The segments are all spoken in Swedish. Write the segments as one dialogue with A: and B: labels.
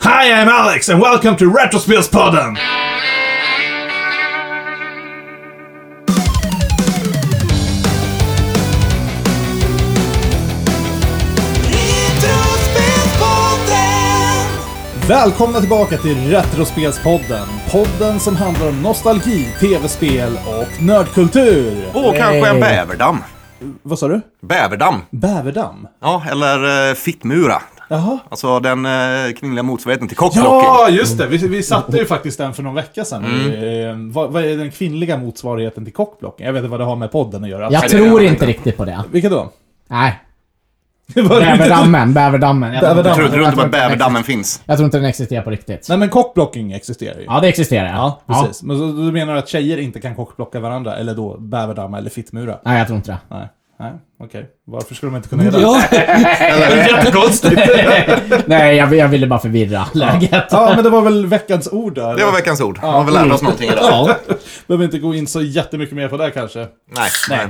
A: I am Alex, and welcome to Retrospelspodden!
B: Välkomna tillbaka till Retrospelspodden. Podden som handlar om nostalgi, tv-spel och nördkultur.
C: Och kanske en bäverdamm.
B: Vad sa du?
C: Bäverdamm.
B: Bäverdamm?
C: Ja, eller eh, fittmura.
B: Jaha.
C: Alltså den eh, kvinnliga motsvarigheten till cockblocking.
B: Ja, just det. Vi, vi satte ju faktiskt den för någon vecka sedan. Eh, vad, vad är den kvinnliga motsvarigheten till kockblocken? Jag vet inte vad det har med podden att göra.
D: Jag
C: det gör
D: tror
C: man
D: inte riktigt på det.
B: Vilket då?
D: Nej.
B: Var det inte-
D: Bäverdammen, bäverdammen. Jag tror-
B: Bäverdammen.
C: Tror du
D: jag
C: inte
D: tror
C: att bäverdammen
D: den
C: finns?
D: exist- Jag tror inte den existerar på riktigt.
B: Nej, men kockblocking existerar ju.
D: Ja, det existerar.
B: Ja, precis. Men så, du menar att tjejer inte kan kockblocka varandra, eller då bäverdamma eller fittmura?
D: Nej, jag tror inte det.
B: Nej. Nej, okej. Varför skulle de inte
E: Mm,
B: kunna göra det?
C: Jättekonstigt.
D: Nej, jag, jag ville bara förvirra läget.
B: Ja, men det var väl veckans ord där.
C: Det var veckans ord. Har vi lärt oss
E: Mm.
C: någonting idag?
D: Ja.
B: Behöver inte gå in så jättemycket mer på det här, kanske.
C: Nej. Nej.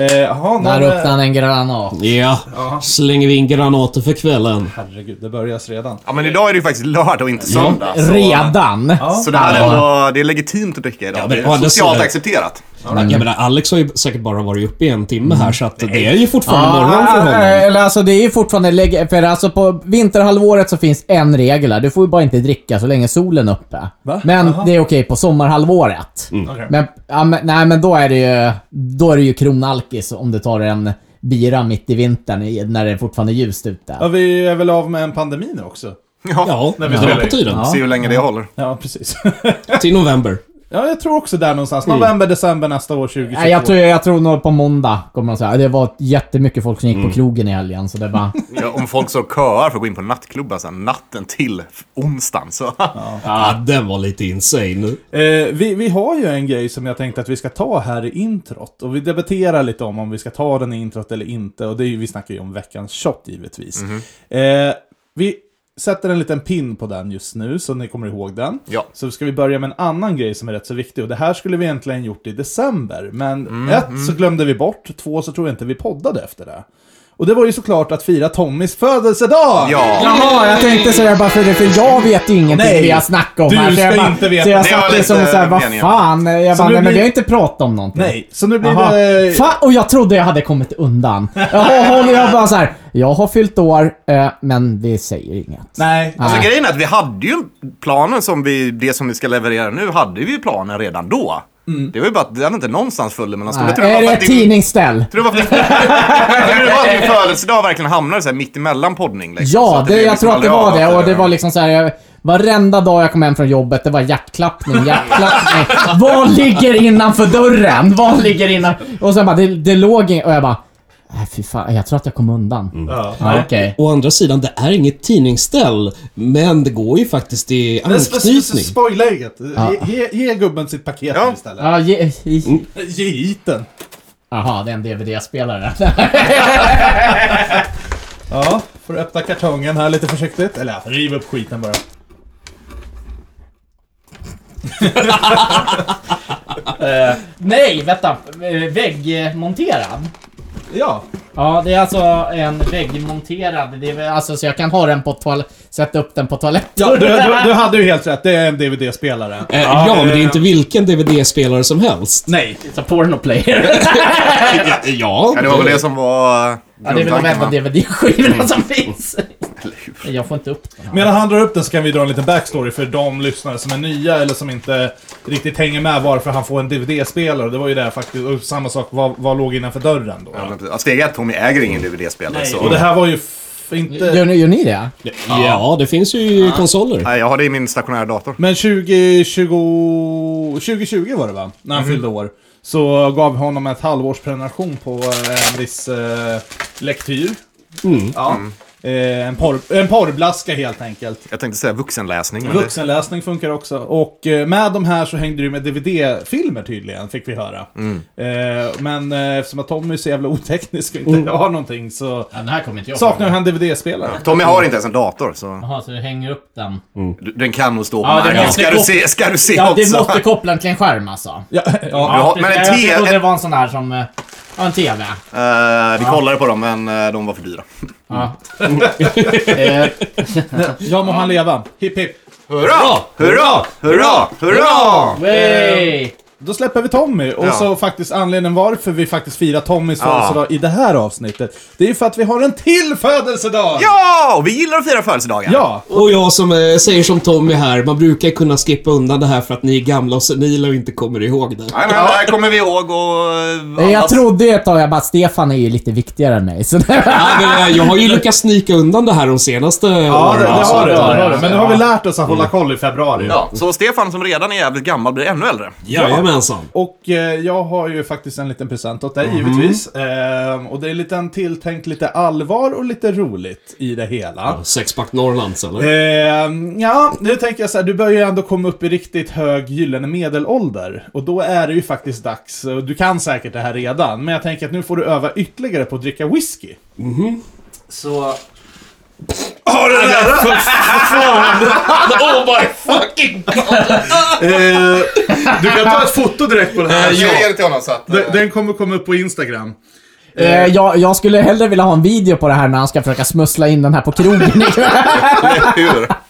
B: Eh, jaha, någon...
D: Där
B: eh,
D: öppnade han en granat.
E: Ja, slänger vi in granater för kvällen.
B: Herregud, det börjas redan.
C: Ja, men idag är det ju faktiskt lördag och inte söndag. Så,
D: Redan?
C: så det här är ändå, det är legitimt att dricka idag.
E: Ja, men
C: det
E: å
C: är
E: andra
C: socialt
E: sidan-
C: accepterat.
B: Mm.
E: Jag menar, Alex har ju säkert bara varit uppe i en timme här så att det är ju fortfarande morgon för
D: Ah,
E: honom.
D: Eller alltså det är ju fortfarande läge, för alltså på vinterhalvåret så finns en regel här. Du får ju bara inte dricka så länge solen är uppe.
B: Va?
D: Men
B: Jaha.
D: det är okej på sommarhalvåret.
E: Mm.
B: Okej.
D: Men, ja, men, nej men då är det ju, då är det ju kronalkis om du tar en bira mitt i vintern i- när det är fortfarande är ljust ute.
B: Ja, vi är väl av med en pandemi nu också.
C: Ja.
E: Ja,
B: När
E: det
B: vi spelar
E: var på
B: in.
E: tiden.
C: Se hur länge det håller.
B: Ja, precis.
E: Till november.
B: ja, jag tror också där någonstans. November, december nästa år, 2022.
D: Nej, jag, tror, jag tror nog på måndag kommer de säga. Det var jättemycket folk som gick
E: Mm.
D: på krogen i helgen så det var...
C: Ja, om folk så köar för att gå in på nattklubben sen natten till onsdagen så...
E: Ja, den var lite insane.
B: Eh, vi, vi har ju en grej som jag tänkte att vi ska ta här i introt. Och vi debatterar lite om om vi ska ta den i introt eller inte. Och det är ju, vi snackar ju om veckans shot givetvis.
C: Mhm.
B: Eh, vi sätter en liten pin på den just nu, så ni kommer ihåg den.
C: Ja.
B: Så ska vi börja med en annan grej som är rätt så viktig. Och det här skulle vi egentligen gjort i december. Men
C: Mhm.
B: ett, så glömde vi bort. Två, så tror jag inte vi poddade efter det. Och det var ju såklart att fira Tommys födelsedag!
C: Ja.
D: Jaha, jag tänkte säga bara för det, för jag vet ju ingenting
B: Nej,
D: vi har snackat om
B: du
D: här. så jag
B: ska
D: bara,
B: inte veta.
D: Så jag
C: Det var
D: satt det som
C: lite
D: såhär, vad
C: meningen.
D: fan. Jag
B: Så
D: bara,
B: nu
D: nej men
B: blir-
D: vi har inte pratat om någonting.
B: Nej, så nu blir eh,
D: Jaha.
B: det...
D: Fan, och jag trodde jag hade kommit undan. Jaha, och jag bara såhär, jag har fyllt år, eh, men vi säger inget.
B: Nej,
C: Alltså grejen är att vi hade ju planen som vi, det som vi ska leverera nu, hade vi ju planen redan då. Det var ju bara att den inte någonstans följde mellan stolarna. Jag tror
D: Mm. Nej. Är
C: bara
D: det
C: att
D: ett
C: din-
D: tidningsställ?
C: Tror du att det var att din födelsedag verkligen hamnade så här mitt emellan poddning? Liksom, Så
D: Ja,
C: att
D: det,
C: blev
D: jag
C: liksom
D: tror att det
C: aldrig
D: var
C: av
D: det. Och det var liksom så här. Jag, varenda dag jag kom hem från jobbet, det var hjärtklappning, hjärtklappning. Vad ligger innanför dörren? Vad ligger innan... Och sen bara, det, det låg in, Och jag bara, nej fy fan, jag tror att jag kom undan.
C: Mm.
B: Ja.
D: Ja, okej.
E: Å andra sidan, det är inget tidningsställ. Men det går ju faktiskt i
B: Men sp- sp- sp-
E: anknytning.
B: Spoila eget. Ge, ge, ge gubben sitt paket
C: Ja.
B: nu istället.
D: Ja, ge, ge,
B: Ge hit den.
D: aha, det är en DVD-spelare.
B: Ja, får du öppna kartongen här lite försiktigt. Eller ja, riv upp skiten bara.
D: Nej, vänta. Eh, Väggmonterad.
B: Ja.
D: Ja, det är alltså en väggmonterad. Det är, väl- alltså, så jag kan ha den på toal- Sätta upp den på toaletten.
B: Du, du, du hade ju helt rätt, det är en DVD-spelare.
E: Eh, Ja, men det är inte vilken DVD-spelare som helst.
B: Nej.
D: It's a porno player.
E: Ja, ja.
C: Ja, det var väl det som var eh,
D: Ja, det är väl de
C: grundtanken,
D: enda
C: va? Mm.
D: DVD-skivorna som finns. Jag får inte upp den. här.
B: Medan han drar upp den så kan vi dra en liten backstory för de lyssnare som är nya eller som inte riktigt hänger med varför han får en DVD-spelare. Det var ju det faktiskt. Och samma sak, vad, vad låg innanför dörren då?
C: Ja, men precis. Ja, Steg ett, Tommy äger ingen DVD-spelare.
B: Och
C: Så...
B: det här var ju f- inte...
D: Gör, ni- gör ni det?
E: ja, det finns ju i konsoler.
C: Nej, jag har det i min stationära dator.
B: Men 2020, 2020 var det va? När
C: Mhm.
B: han fyllde år. Så gav vi honom ett halvårsprenumeration på eh, en viss eh, lektyr. Ja.
C: Mm.
B: Eh, en, porr, en porrblaska helt enkelt.
C: Jag tänkte säga vuxenläsning. Men det...
B: Vuxenläsning funkar också. Och eh, med de här så hängde det ju med DVD-filmer tydligen, fick vi höra.
C: Mm.
B: Eh, men eh, eftersom att Tommy är så jävla oteknisk och inte har någonting så
D: den här kommer inte jag
B: saknar han DVD-spelare.
C: Tommy har inte ens en dator, så
D: Jaha, så du hänger upp den?
C: du- den kan nog stå på
D: Ja, det
C: marken.
D: måste
C: Ska du
D: gå-
C: se, ska du se
D: Ja,
C: också?
D: du måste koppla den till en skärm alltså.
B: Ja, ja.
C: Ja, men en
D: jag
C: te-
D: trodde
C: en-
D: det var en sån här som... eh, Ja, en TV.
C: Eh, vi kollade på dem, men eh, de var för dyra.
D: Ja. Eh,
B: Ja, må han leva. Hipp hipp.
C: Hurra! Hurra! Hurra! Hurra!
D: Wey!
B: Då släpper vi Tommy. Och
C: Ja.
B: så faktiskt anledningen varför vi faktiskt firar Tommys
C: Ja.
B: födelsedag i det här avsnittet. Det är ju för att vi har en till födelsedag!
C: Ja! Och vi gillar att fira födelsedagar.
B: Ja!
E: Och jag som eh, säger som Tommy här, man brukar kunna skippa undan det här för att ni är gamla och senila och inte kommer ihåg det.
C: Nej, nej, det här kommer vi ihåg och... eh,
D: Eh, Jag
C: annars-
D: trodde ju ett tag, jag bara, Stefan är ju lite viktigare än mig. Så det,
E: Ja, men, eh, jag har ju lyckats snika undan det här de senaste
B: Ja, det,
E: åren.
B: det
E: alltså.
B: har du. Det har du.
D: ja. Mm.
B: Men nu har vi lärt oss att hålla koll i februari.
C: Ja, så Stefan som redan är jävligt gammal blir ännu äldre.
E: Jajamensan.
B: Och eh, jag har ju faktiskt en liten present åt
D: Mm.
B: dig givetvis. Ehm, och det är lite en tilltänkt lite allvar och lite roligt i det hela.
E: Sexpack Norrlands eller?
B: Ehm, ja, nu tänker jag så här, du börjar ju ändå komma upp i riktigt hög gyllene medelålder. Och då är det ju faktiskt dags, och du kan säkert det här redan, men jag tänker att nu får du öva ytterligare på att dricka whisky.
F: Så...
A: Har det där!
B: Ehm,
A: Eh, Du kan ta ett foto direkt på det här.
C: ger Eh, det till honom så att...
B: Eh, den, den kommer komma upp på Instagram.
D: eh, jag, jag skulle hellre vilja ha en video på det här när han ska försöka smussla in den här på krogen ikväll.
C: eh, Hur?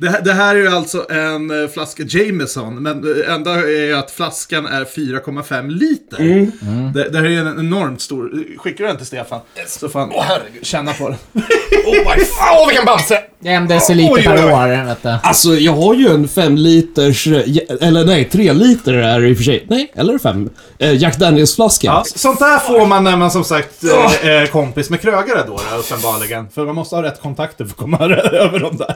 B: Det, här- det här är ju alltså en eh, flaska Jameson, men eh, enda är ju att flaskan är 4,5 liter.
A: Mm.
B: Det, det här är ju en enormt stor... Skickar du den till Stefan? Så får han känna på den.
C: Åh, oh, vilken Bamse!
D: En deciliter
C: Oj, oj, oj.
D: per år, vet du.
E: Alltså jag har ju en fem liters, eh, eller nej, tre liter är det i och för sig. Nej, eller fem. Eh, Jack Daniels-flaska.
B: Ja, sånt där får man när man som sagt eh, är kompis med krögare då, då uppenbarligen. För man måste ha rätt kontakter för att komma över dem där.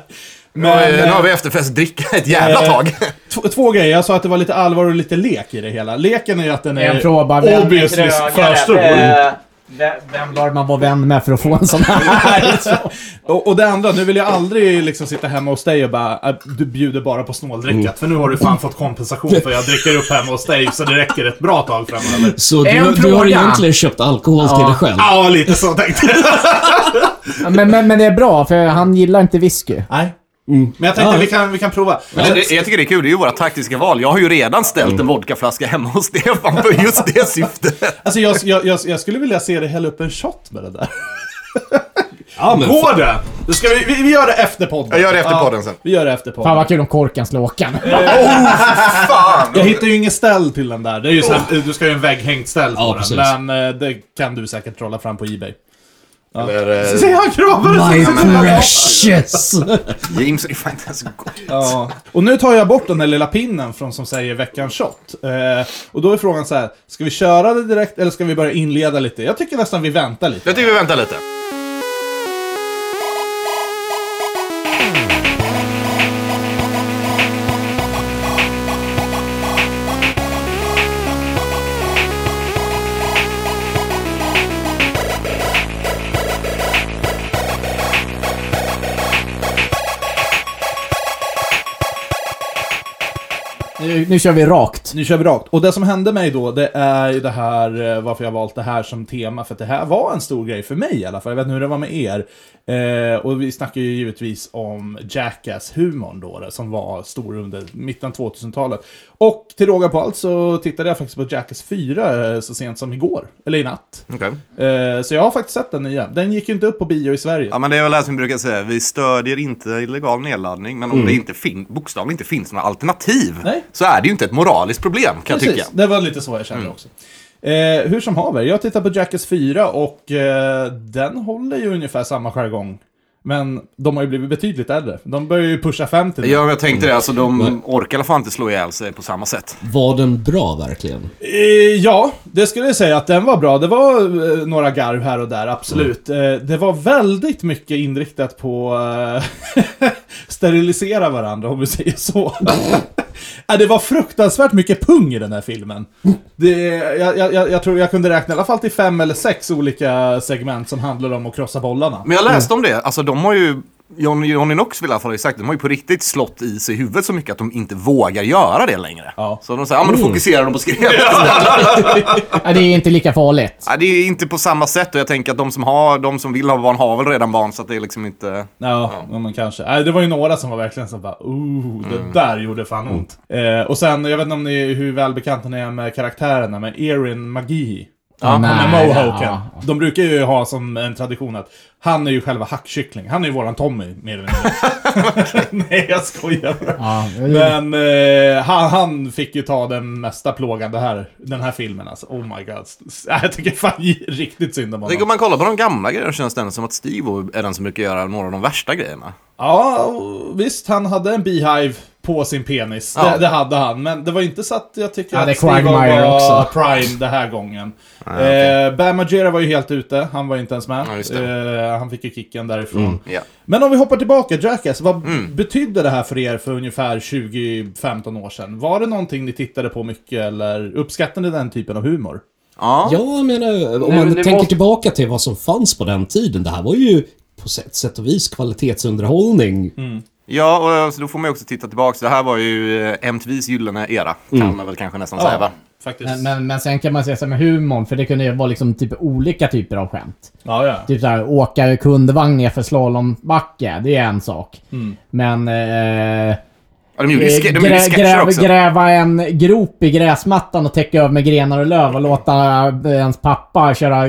B: Men,
C: nu
B: eh,
C: har vi efterfest dricka ett jävla
B: eh,
C: tag.
B: Två, två grejer, jag sa att det var lite allvar och lite lek i det hela. Leken är ju att den
D: En
B: är
D: fråga bara, vem
B: Eh,
D: är Eh.
B: obviously för stor.
F: Vem, vem
D: Bör man vara vän med för att få en sån här?
B: Och, och det andra, nu vill jag aldrig liksom sitta hemma hos dig och bara "Ah, du bjuder bara på snåldrickat.
E: Mm.
B: För nu har du fan fått kompensation för jag dricker upp hemma hos dig så det räcker ett bra tag framöver.
E: Så
D: En
E: du, du har
D: fråga.
E: egentligen köpt alkohol till dig själv?
B: Ja, lite så tänkte jag.
D: men, men, men det är bra, för han gillar inte whisky.
B: Nej. Men jag tänkte
E: Ja.
B: vi kan, vi kan prova.
C: Men det, jag tycker det är kul, det är ju våra taktiska val. Jag har ju redan ställt en vodkaflaska hemma hos Stefan för just det syftet.
B: Alltså jag, jag, jag, jag skulle vilja se dig hälla upp en shot med det där.
E: Ja, men
B: Går det? Då ska vi, vi, vi gör det efter podden.
C: Jag gör det efter podden sen.
B: Vi gör det efter
D: Fan
B: podden.
D: vad kul om korken slår åkan.
B: Eh,
C: Fan!
B: Jag hittar ju ingen ställ till den där. Det är ju så här, du ska ju ha en vägghängd ställ på
E: Ja,
B: den.
E: precis.
B: Men eh, det kan du säkert trolla fram på Ebay.
C: Eller,
B: Se,
C: eh,
B: han kramar den!
E: My precious!
C: James är fan inte ens god.
B: Ja. Och nu tar jag bort den där lilla pinnen från som säger veckans shot. Eh, och då är frågan så här, ska vi köra det direkt eller ska vi börja inleda lite? Jag tycker nästan vi väntar lite.
C: Jag tycker vi väntar lite.
D: Nu, nu kör vi rakt.
B: Nu kör vi rakt. Och det som hände mig då, det är ju det här eh, varför jag valt det här som tema. För att det här var en stor grej för mig i alla fall. Jag vet inte hur det var med er. Eh, och vi snackar ju givetvis om Jackass-humorn då, det, som var stor under mitten av 2000-talet. Och till råga på allt så tittade jag faktiskt på Jackass 4 eh, så sent som igår, eller i natt.
C: Okej.
B: Eh, så jag har faktiskt sett den nya. Den gick ju inte upp på bio i Sverige.
C: Ja men det är väl det här som vi brukar säga, vi stödjer inte illegal nedladdning, men om det inte fin- bokstavligen inte finns några alternativ
B: Mm. Nej.
C: så är det ju inte ett moraliskt problem kan jag
B: Precis,
C: tycka. Mm.
B: det var lite så jag kände också. Eh, hur som haver, jag tittar på Jackass 4 och eh, den håller ju ungefär samma jargong. Men de har ju blivit betydligt äldre. De börjar ju pusha 50 nu.
C: Ja, men jag tänkte det, alltså
B: Mm.
C: de orkar i alla fall inte slå ihjäl sig på samma sätt.
E: Var den bra verkligen?
B: Eh, ja, det skulle jag säga att den var bra. Det var eh, några garv här och där, absolut. Eh, det var väldigt mycket inriktat på eh, sterilisera varandra, om vi säger så. Ja, det var fruktansvärt mycket pung i den här filmen. Det, jag, jag, jag- jag tror jag kunde räkna i alla fall till fem eller sex olika segment som handlade om att krossa bollarna.
C: Men jag läste om det, alltså de har ju, Johnny, Johnny Knoxville i alla fall har ju sagt, de har ju på riktigt slått i sig huvudet så mycket att de inte vågar göra det längre.
B: Ja. Mm.
C: Så de säger, ja men då fokuserar de på skrevet.
D: Ja, det är inte lika farligt.
C: ja, det är inte på samma sätt och jag tänker att de som, har, de som vill ha barn har väl redan barn så att det är liksom inte...
B: Ja, ja. Men kanske. Nej, det var ju några som var verkligen så bara ooh, det där gjorde fan ont. Eh, och sen, jag vet inte om ni, hur välbekanta ni är med karaktärerna, men Erin Magi.
C: Ja,
D: Nej,
B: med mohoken.
D: ja.
B: De brukar ju ha som en tradition att han är ju själva hackkyckling. Han är ju våran Tommy, mer eller mindre. Nej, jag skojar bara.
D: Ja, jag gillar-
B: Men eh, han, han fick ju ta den mesta plågan det här, den här filmen alltså. Oh my god. S- Jag tycker fan riktigt synd om
C: Tänk om
B: honom.
C: man kollar på de gamla grejerna känns det ändå som att Steve är den som brukar göra några av de värsta grejerna.
B: Ja, och visst han hade en beehive på sin penis.
C: Ja.
B: Det, det hade han. Men det var inte så att jag tycker
D: Ja, det är
B: att Steve
D: Quagmire
B: var
D: också.
B: prime den här gången.
C: Ah, okej.
B: eh, Bam Margera var ju helt ute. Han var ju inte ens med.
C: Ja, just Mm,
B: eh, han fick ju kicken därifrån.
C: Ja. Mm.
B: Men om vi hoppar tillbaka, Jackass, vad betydde det här för er för ungefär 20-15 år sedan? Var det någonting ni tittade på mycket eller uppskattade den typen av humor?
C: Ja.
E: Jag menar,
F: Nej,
E: om man
F: men det
E: tänker
F: måste-
E: tillbaka till vad som fanns på den tiden. Det här var ju på sätt, sätt och vis kvalitetsunderhållning.
B: Mm.
C: Ja, och alltså, då får man ju också titta tillbaka. Det här var ju eh, MTVs gyllene era, kan man väl kanske nästan säga va?
B: faktiskt.
D: Men, men, men sen kan man säga så här med humorn, för det kunde ju vara liksom typ olika typer av skämt.
B: ja, ja.
D: Typ såhär, åka kundvagn nerför slalombacke, det är en sak.
B: Mm.
D: Men... Eh,
C: Ja, de gjorde ju
D: eh,
C: ske- de gjorde ju
D: grä,
C: sketcher
D: gräv,
C: också.
D: gräva en grop i gräsmattan och täcka över med grenar och löv och låta eh, ens pappa köra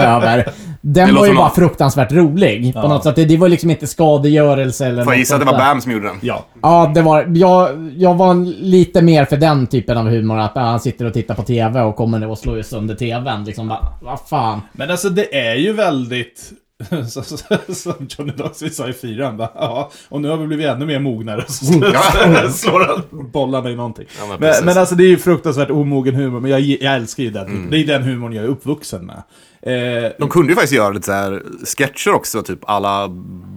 D: över. Den
C: Det
D: var ju
C: låter
D: bara
C: något.
D: fruktansvärt rolig på något sätt. Det, det var liksom inte skadegörelse eller
C: Får jag
D: något
C: gissa att det
D: sånt
C: var
D: där.
C: Bam som gjorde den?
B: ja.
D: Ja, det var... Jag, jag var en- lite mer för den typen av humor. Att äh, han sitter och tittar på TV och kommer och slår ju sönder TVn. Liksom, vad va fan.
B: Men alltså det är ju väldigt... så- så- Som Johnny Knoxville sa i fyran, bara, ja, och nu har vi blivit ännu mer mognare. Så slår han bollarna i någonting.
C: Ja, men precis.
B: men, men alltså det är ju fruktansvärt omogen humor, men jag, jag älskar ju den.
C: Mm.
B: Det är den humorn jag är uppvuxen med. Eh,
C: De kunde ju faktiskt göra lite så här sketcher också, typ alla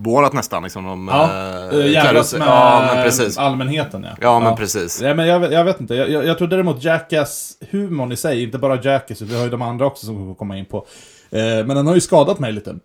C: Borat nästan. Liksom, de,
B: Ja,
C: eh,
B: eh,
C: klädde
B: jävlas
C: sig-
B: med
C: Ja, men precis.
B: allmänheten ja.
C: Ja, men precis.
B: Nej, men jag, jag vet inte, jag, jag, jag tror däremot Jackass-humorn i sig, inte bara Jackass, vi har ju de andra också som vi får komma in på. Eh, men den har ju skadat mig lite.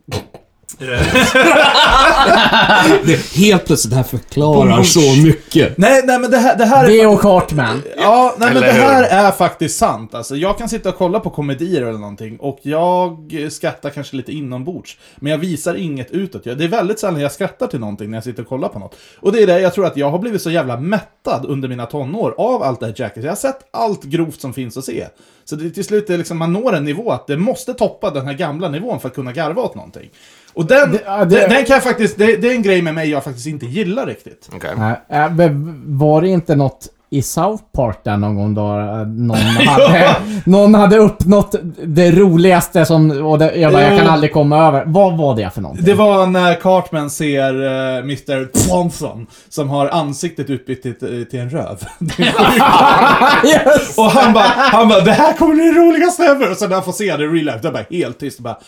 E: Det, helt plötsligt, det här förklarar så mycket.
B: Nej, nej men det här, det här är...
D: Det och Cartman.
B: Ja, nej, men
C: Eller
B: det här
C: hur?
B: är faktiskt sant. Alltså, jag kan sitta och kolla på komedier eller någonting och jag skrattar kanske lite inombords. Men jag visar inget utåt. Jag- Det är väldigt sällan jag skrattar till någonting när jag sitter och kollar på något. Och det är det jag tror att jag har blivit så jävla mättad under mina tonår av allt det här Jackass. Jag har sett allt grovt som finns att se. Så det, till slut är liksom, man når en nivå att det måste toppa den här gamla nivån för att kunna garva åt någonting. Och den,
D: Det- ja, det-
B: den, den kan jag faktiskt, det, det är en grej med mig jag faktiskt inte gillar riktigt.
C: Okej.
D: Nej, äh, men Var det inte något i South Park där någon gång då äh, någon hade, någon hade uppnått det roligaste som... Och det, jag bara, jag kan
B: Jo.
D: aldrig komma över. Vad var det för någonting?
B: Det var när Cartman ser eh, Mr. Thompson som har ansiktet utbytt till, eh, till en röv. Det är sjukt.
D: Yes!
B: och han bara, han bara, det här kommer bli det roligaste ever! Och sen när han får se det i real life, då är bara helt tyst och bara,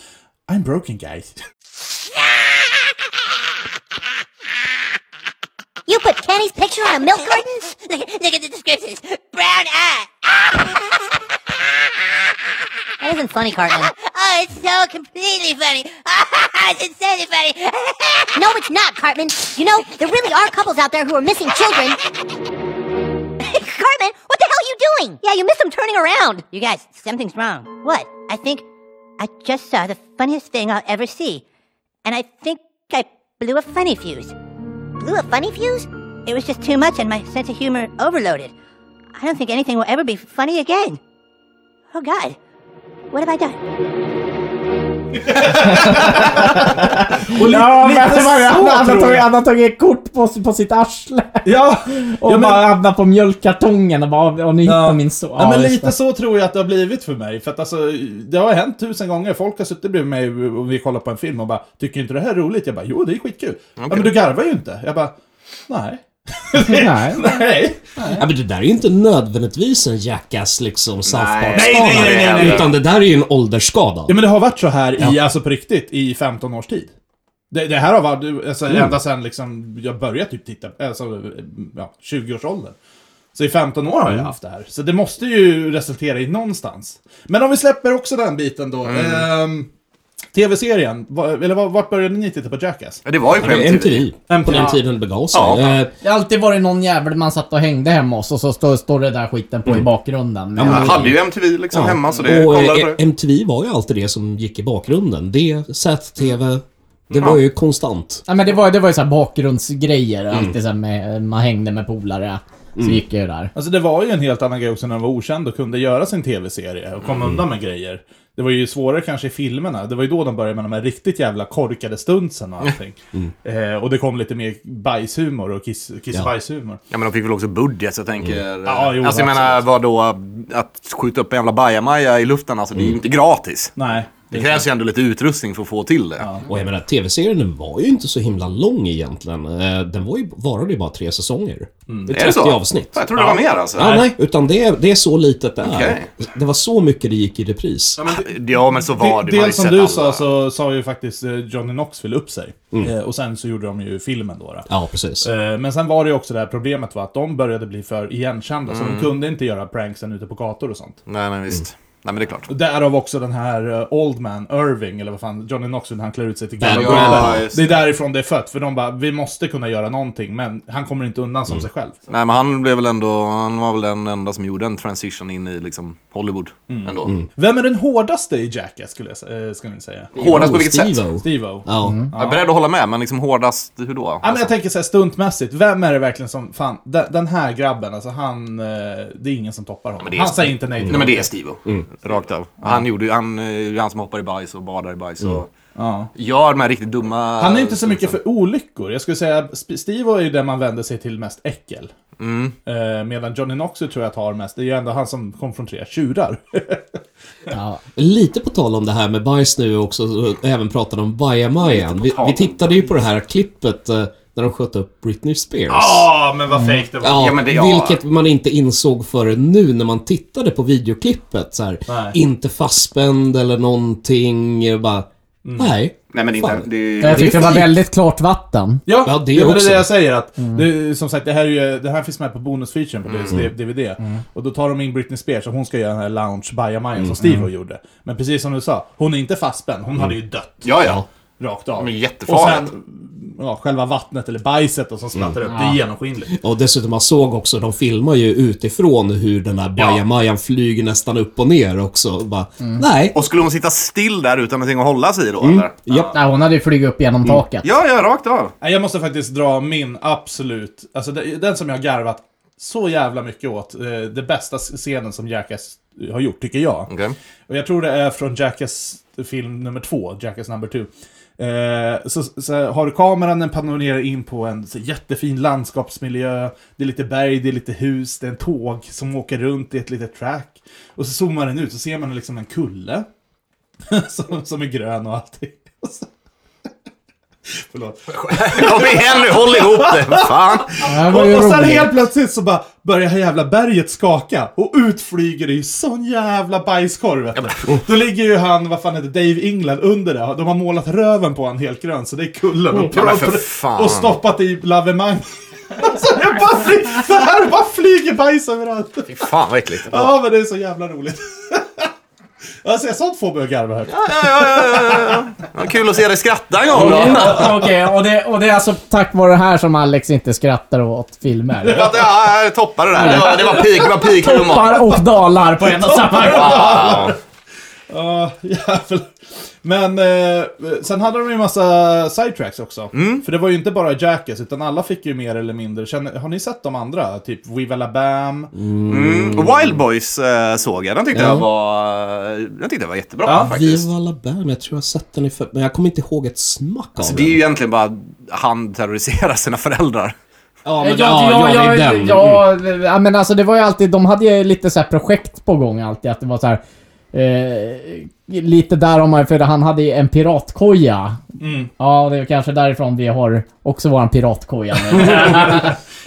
B: I'm broken guys.
G: You put Kenny's picture on a milk carton? Look, at- look at the descriptions. Brown uh, ah. eye. That isn't funny, Cartman. Oh, it's so completely funny. it's insanely funny. no, it's not, Cartman. You know, there really are couples out there who are missing children. Cartman, what the hell are you doing? Yeah, you missed them turning around. You guys, something's wrong. What? I think I just saw the funniest thing I'll ever see. And I think I blew a funny fuse blew a funny fuse? It was just too much and my sense of humor overloaded. I don't think anything will ever be funny again. Oh god. What have I done?
B: Och li-
D: Ja, men
B: lite
D: det var det.
B: så,
D: Han, han, har
B: tror
D: tagit-
B: jag.
D: han har tagit kort på, på sitt arsle.
B: Ja,
D: Och
B: ja, men,
D: bara hamnat på mjölkkartongen och bara, och nu hittar
B: Ja.
D: min son.
B: ja, men
D: just
B: lite
D: det.
B: så tror jag att det har blivit för mig. För att alltså, det har hänt tusen gånger. Folk har suttit bredvid mig och vi kollar på en film och bara, tycker inte det här är roligt? Jag bara, jo det är skitkul. Ja, men du garvar ju inte. Jag bara, nej.
D: Nej.
B: Nej.
E: Ja, men det där är ju inte nödvändigtvis en Jackass liksom South Park-skada.
C: Nej, nej, nej, nej, nej.
E: Utan det där är ju en åldersskada.
B: Ja men det har varit så här i, alltså på riktigt, i 15 års tid. Det, det här har varit, alltså, ända sedan liksom jag började typ titta, alltså ja, 20-årsåldern. Så i 15 år har jag haft det här. Så det måste ju resultera i någonstans. Men om vi släpper också den biten då. Ehm, TV-serien, va- eller va- vart började ni titta på Jackass?
C: Ja, det var ju på
E: Ja, det är
C: MTV.
E: MTV. På den tiden det begav sig.
C: Ja.
E: Eh,
D: Det har alltid varit någon jävel man satt och hängde hemma hos och så står, står det där skiten på
B: Mm.
D: i bakgrunden.
C: Jag
D: Men-
C: hade ju MTV liksom
E: ja.
C: hemma, så det
E: och,
C: kollade
E: eh,
C: på det.
E: MTV var ju alltid det som gick i bakgrunden. Det, Z-TV, det var ju konstant.
D: Ja, men det var, det var ju så här bakgrundsgrejer, alltid så här med, man hängde med polare. Så gick jag ju där.
B: Alltså det var ju en helt annan grej också när de var okänd och kunde göra sin tv-serie och komma
C: Mm.
B: undan med grejer. Det var ju svårare kanske i filmerna. Det var ju då de började med de här riktigt jävla korkade stuntsen och allting. Eh, och det kom lite mer bajshumor och kiss, kissbajshumor.
C: Mm. Ja, men de fick väl också budget, så jag tänker...
B: Ja, jo,
C: alltså, jag menar,
B: absolut.
C: vadå? Att skjuta upp en jävla bajamaja i luften, alltså, det är ju inte gratis.
B: Nej.
C: Det krävs ju ändå lite utrustning för att få till det.
E: Och jag menar, tv-serien var ju inte så himla lång egentligen. Eh, Den var ju, varade ju bara tre säsonger. Det är 30
C: Är det så?
E: avsnitt.
C: Jag trodde det var mer alltså.
E: Ja, nej, utan det, är- det är så litet det är.
C: Okej.
E: Det var så mycket det gick i repris.
C: Ja, men så var det. Man har ju
B: Dels som
C: sett
B: du
C: alla. Mm.
B: sa alltså. så sa ju faktiskt eh, Johnny Knoxville upp sig. Eh, och sen så gjorde de ju filmen då. då.
E: Ja, precis.
B: Eh, Men sen var det ju också det här problemet var att de började bli för igenkända, så de
C: Mm.
B: kunde inte göra pranksen ute på gator och sånt.
C: Nej, nej, visst.
B: Mm.
C: Nej, men det är klart.
B: Och Därav också den här eh, Old Man Irving, eller vad fan, Johnny Knoxville, när han klär ut sig till
E: Bad
B: gamla
E: Guy.
B: gubben.
C: Ja, just
B: Det är därifrån det är fött, för de bara, vi måste kunna göra någonting, men han kommer inte undan
C: Mm.
B: som sig själv.
C: Nej, men han blev väl ändå... Han var väl den enda som gjorde en transition in i liksom Hollywood
B: Mm.
C: ändå.
B: Vem är den hårdaste i Jackass, skulle jag sä- eh, skulle ni säga?
C: Hårdast på vilket sätt?
E: Steve-O.
B: Steve-O.
E: Ja.
C: Jag är beredd att hålla med, men liksom hårdast, hur då?
B: Ja, men jag tänker såhär stuntmässigt, vem är det verkligen som, fan, de- den här grabben, alltså han, eh, det är ingen som toppar honom.
C: men det är-
B: han säger inte nej till
C: Nej men
B: någonting.
C: det är Steve Rakt av. Han gjorde ju, han, eh, är ju han som hoppar i bajs och badar i bajs och
B: Ja.
C: gör de här riktigt dumma...
B: Han är ju inte så mycket för olyckor. Jag skulle säga, Sp- Steve är ju den man vänder sig till mest äckel.
A: Mm.
B: Eh, medan Johnny Knoxville tror jag tar mest, det är ju ändå han som konfronterar tjurar.
D: Ja.
E: Lite på tal om det här med bajs nu också, och även pratade om bajamajan. Vi, vi tittade ju på det här klippet eh, när de sköt upp Britney Spears.
A: Ja, men vad fejk det var.
E: Ja,
C: Ja, men det- ja.
E: vilket man inte insåg förrän nu när man tittade på videoklippet. Så här, inte fastspänd eller någonting. eh, Bara,
C: Mm.
E: Nej.
C: Nej men det är
E: Fan.
C: inte... Det är...
D: Jag tyckte det var
E: fint.
D: väldigt klart vatten.
B: Ja,
E: Ja,
B: det, Mm.
E: det
B: är väl
E: också.
B: det jag säger. Att det, som sagt, det här, är ju, det här finns med på bonusfeaturen på mm. Mm. DVD. Och då tar de in Britney Spears och hon ska göra den här lounge bajamajan som Steve gjorde. Men precis som du sa, hon är inte fastspänd. Hon hade
A: Mm.
B: ju dött
C: Ja, ja.
B: rakt av.
C: Men
B: och
C: jättefarligt.
B: sen ja, själva vattnet eller bajset och som splattrar
A: Mm.
B: upp, det är genomskinligt.
E: Och dessutom man såg också, de filmar ju utifrån hur den där bajamajan flyger nästan upp och ner också. Bara,
C: Mm.
E: Nej.
C: Och skulle hon sitta still där utan någonting att hålla sig i då eller?
E: Ja.
D: Nej, hon hade ju flugit upp genom taket.
C: Ja, ja, rakt av.
B: Nej, Jag måste faktiskt dra min absolut, alltså det- den som jag har garvat så jävla mycket åt, eh, det bästa scenen som Jackass har gjort, tycker jag.
C: Okej.
B: Och jag tror det är från Jackass film nummer två, Jackass number two. Eh, så, så har du kameran, den panorerar in på en så jättefin landskapsmiljö. Det är lite berg, det är lite hus, det är en tåg som åker runt i ett litet track. Och så zoomar den ut, så ser man liksom en kulle. som, som är grön och allting. Och så- Förlåt.
C: Kom igen nu, håll ihop det! Fan!
D: Det här var
B: Och,
D: ju
B: och sen
D: roligt.
B: helt plötsligt så bara börjar här jävla berget skaka och ut flyger det ju sån jävla bajskorv vet du. Då ligger ju han, vad fan heter det, Dave England under det. De har målat röven på han helt grön så det är kullen. Och,
C: Ja, men för fan.
B: och stoppat i lavemang. Alltså det bara flyger, så här bara flyger bajs överallt.
C: Fy fan vad äckligt. Ja,
B: Ja men det är så jävla roligt. Alltså jag sånt får mig att garva högt.
C: ja, ja, ja, ja, ja. Vad Kul att se dig skratta en gång då.
D: Okej, och, det, och det är alltså tack vare det här som Alex inte skrattar åt filmer.
C: Att, ja, jag toppade det där. Det var, det var peak, det var peak humor.
D: Toppar och dalar på en och samma gång.
C: Wow.
B: Ja, jävlar. Men eh, sen hade de ju massa sidetracks också. För det var ju inte bara Jackass, utan alla fick ju mer eller mindre. Känner, har ni sett de andra? Typ Viva La Bam?
C: Mm. Wild Boys eh, såg jag. Den tyckte, jag, var, den tyckte jag var jättebra faktiskt.
E: Viva la Bam, jag tror jag har sett den i för... Men jag kommer inte ihåg ett smack av
C: Så Alltså, det är
E: den.
C: ju egentligen bara han terroriserar sina föräldrar.
E: Ja,
D: Ja,
E: men,
D: ja,
E: det
D: ja,
E: är
D: ja,
E: den. Mm.
D: ja, ja, men alltså det var ju alltid, de hade ju lite så här projekt på gång alltid, att det var så här. Eh, lite där om man, för han hade ju en piratkoja.
E: Mm.
D: Ja, det är kanske därifrån vi har också våran piratkoja nu.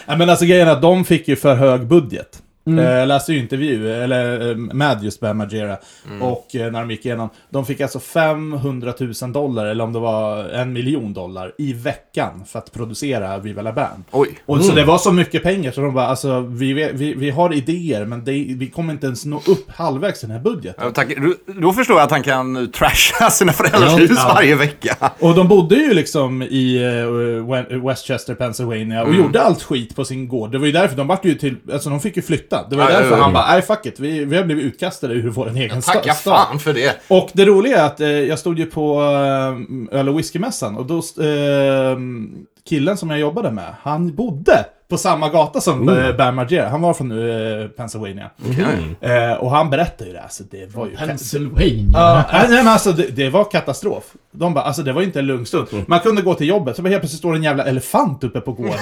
B: Ja, men alltså grejen är att de fick ju för hög budget. Eh, Jag läste ju intervju, eller eh, med just Bam Margera, och eh, när de gick igenom. De fick alltså 500 000 dollar, eller om det var en miljon dollar, i veckan för att producera Viva La Bam.
C: Oj.
B: Och Så det var så mycket pengar så de bara, alltså vi, vet- vi, vi har idéer men det, vi kommer inte ens nå upp halvvägs i den här budgeten.
C: Ja, Tack. Du- Då förstår jag att han kan eh, trasha sina föräldrars
E: Ja.
C: hus varje vecka.
B: Och de bodde ju liksom i eh, Wen- Westchester, Pennsylvania
C: Mm.
B: och gjorde allt skit på sin gård. Det var ju därför de vart ju till, alltså de fick ju flytta. Det var ju
C: Ja, ja,
B: därför
C: ja, ja.
B: han bara, nej fuck it, vi, vi har blivit utkastade ur vår egen sta-
C: Tacka
B: stad."
C: fan för det.
B: Och det roliga är att eh, jag stod ju på eh, öl och whiskymässan och då eh, killen som jag jobbade med, han bodde på samma gata som mm. Bam Margera. Han var från eh, Pennsylvania. Eh, och han berättade ju det, alltså det var ju...
D: Pennsylvania.
B: Ja, nej, nej, men alltså det, det var katastrof. De bara, alltså det var ju inte en lugn stund. Man kunde gå till jobbet, så bara helt plötsligt står det en jävla elefant uppe på gården.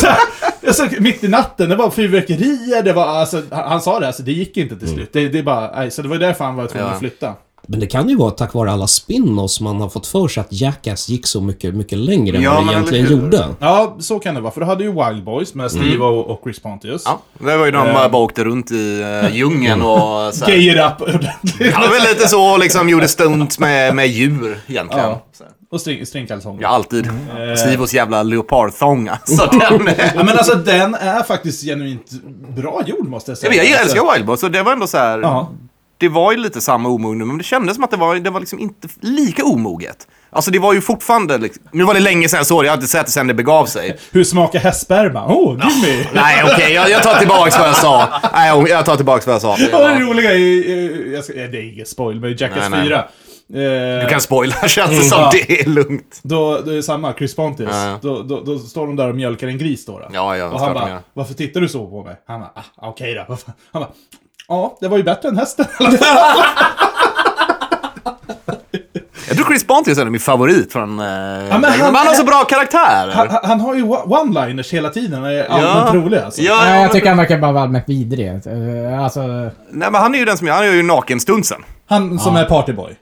B: så, här, alltså, mitt i natten, det var fyrverkerier, det var alltså, han, han sa det, alltså det gick inte till slut. Det, det bara, nej, så det var ju därför han var tvungen
C: Ja.
B: att flytta.
E: Men det kan ju vara tack vare alla spin-offs man har fått för sig att Jackass gick så mycket, mycket längre än
C: Ja,
E: vad
C: men
E: det egentligen
C: eller hur?
E: gjorde.
B: Ja, så kan det vara, för du hade ju Wild Boys med Steve och, och Chris Pontius.
C: Ja, det var ju när de bara åkte runt i eh, djungeln och så här.
B: Gay it up ordentligt.
C: Ja, det var väl lite så liksom gjorde stunt med, med djur egentligen.
B: Ja. Och string, stringkalsonger.
C: Ja, alltid.
B: Mm.
C: Stivos jävla leopardthång alltså. Den,
B: Ja, men alltså den är faktiskt genuint bra gjord måste jag
C: jag,
B: säga.
C: vet, jag älskar Wild Boys, så det var ändå så här.
B: Alltså- Ja.
C: Det var ju lite samma omognad, men det kändes som att det var, det var liksom inte lika omoget. Alltså det var ju fortfarande, liksom, nu var det länge sedan jag såg det, jag har inte sett det sedan det begav sig.
B: Hur smakar hästsperma? Åh, oh, gimme!
C: Nej okej, jag, jag tar tillbaks vad jag sa. Nej, jag- jag tar tillbaks vad jag sa. Det
B: Ja, det
C: var-
B: roliga i, i- jag ska, det är inget spoil, men i Jackass
C: Nej, nej.
B: 4. Eh,
C: Du kan spoila känns det som,
B: Ja.
C: det är lugnt.
B: då, då är det samma, Chris Pontius.
C: Ja, ja.
B: Då, då, då står de där och mjölkar en gris då. då.
C: Ja, ja,
B: och
C: klart
B: han
C: de
B: bara,
C: gör.
B: varför tittar du så på mig? Han bara, ah, okej då. Vad fan?" Han bara, ja, det var ju bättre än hästen.
C: Jag tror Chris Pontius är min favorit från... Eh, men
B: han-
C: han, har så bra karaktär.
B: han, han- han har ju o- one-liners hela tiden och är allmänt rolig alltså.
C: Ja,
D: Nej, jag
C: men-
D: tycker han verkar bara vara allmänt vidrig. Eh, Alltså,
C: Nej, men han är ju den som, han är ju nakenstunsen.
B: Han som är partyboy.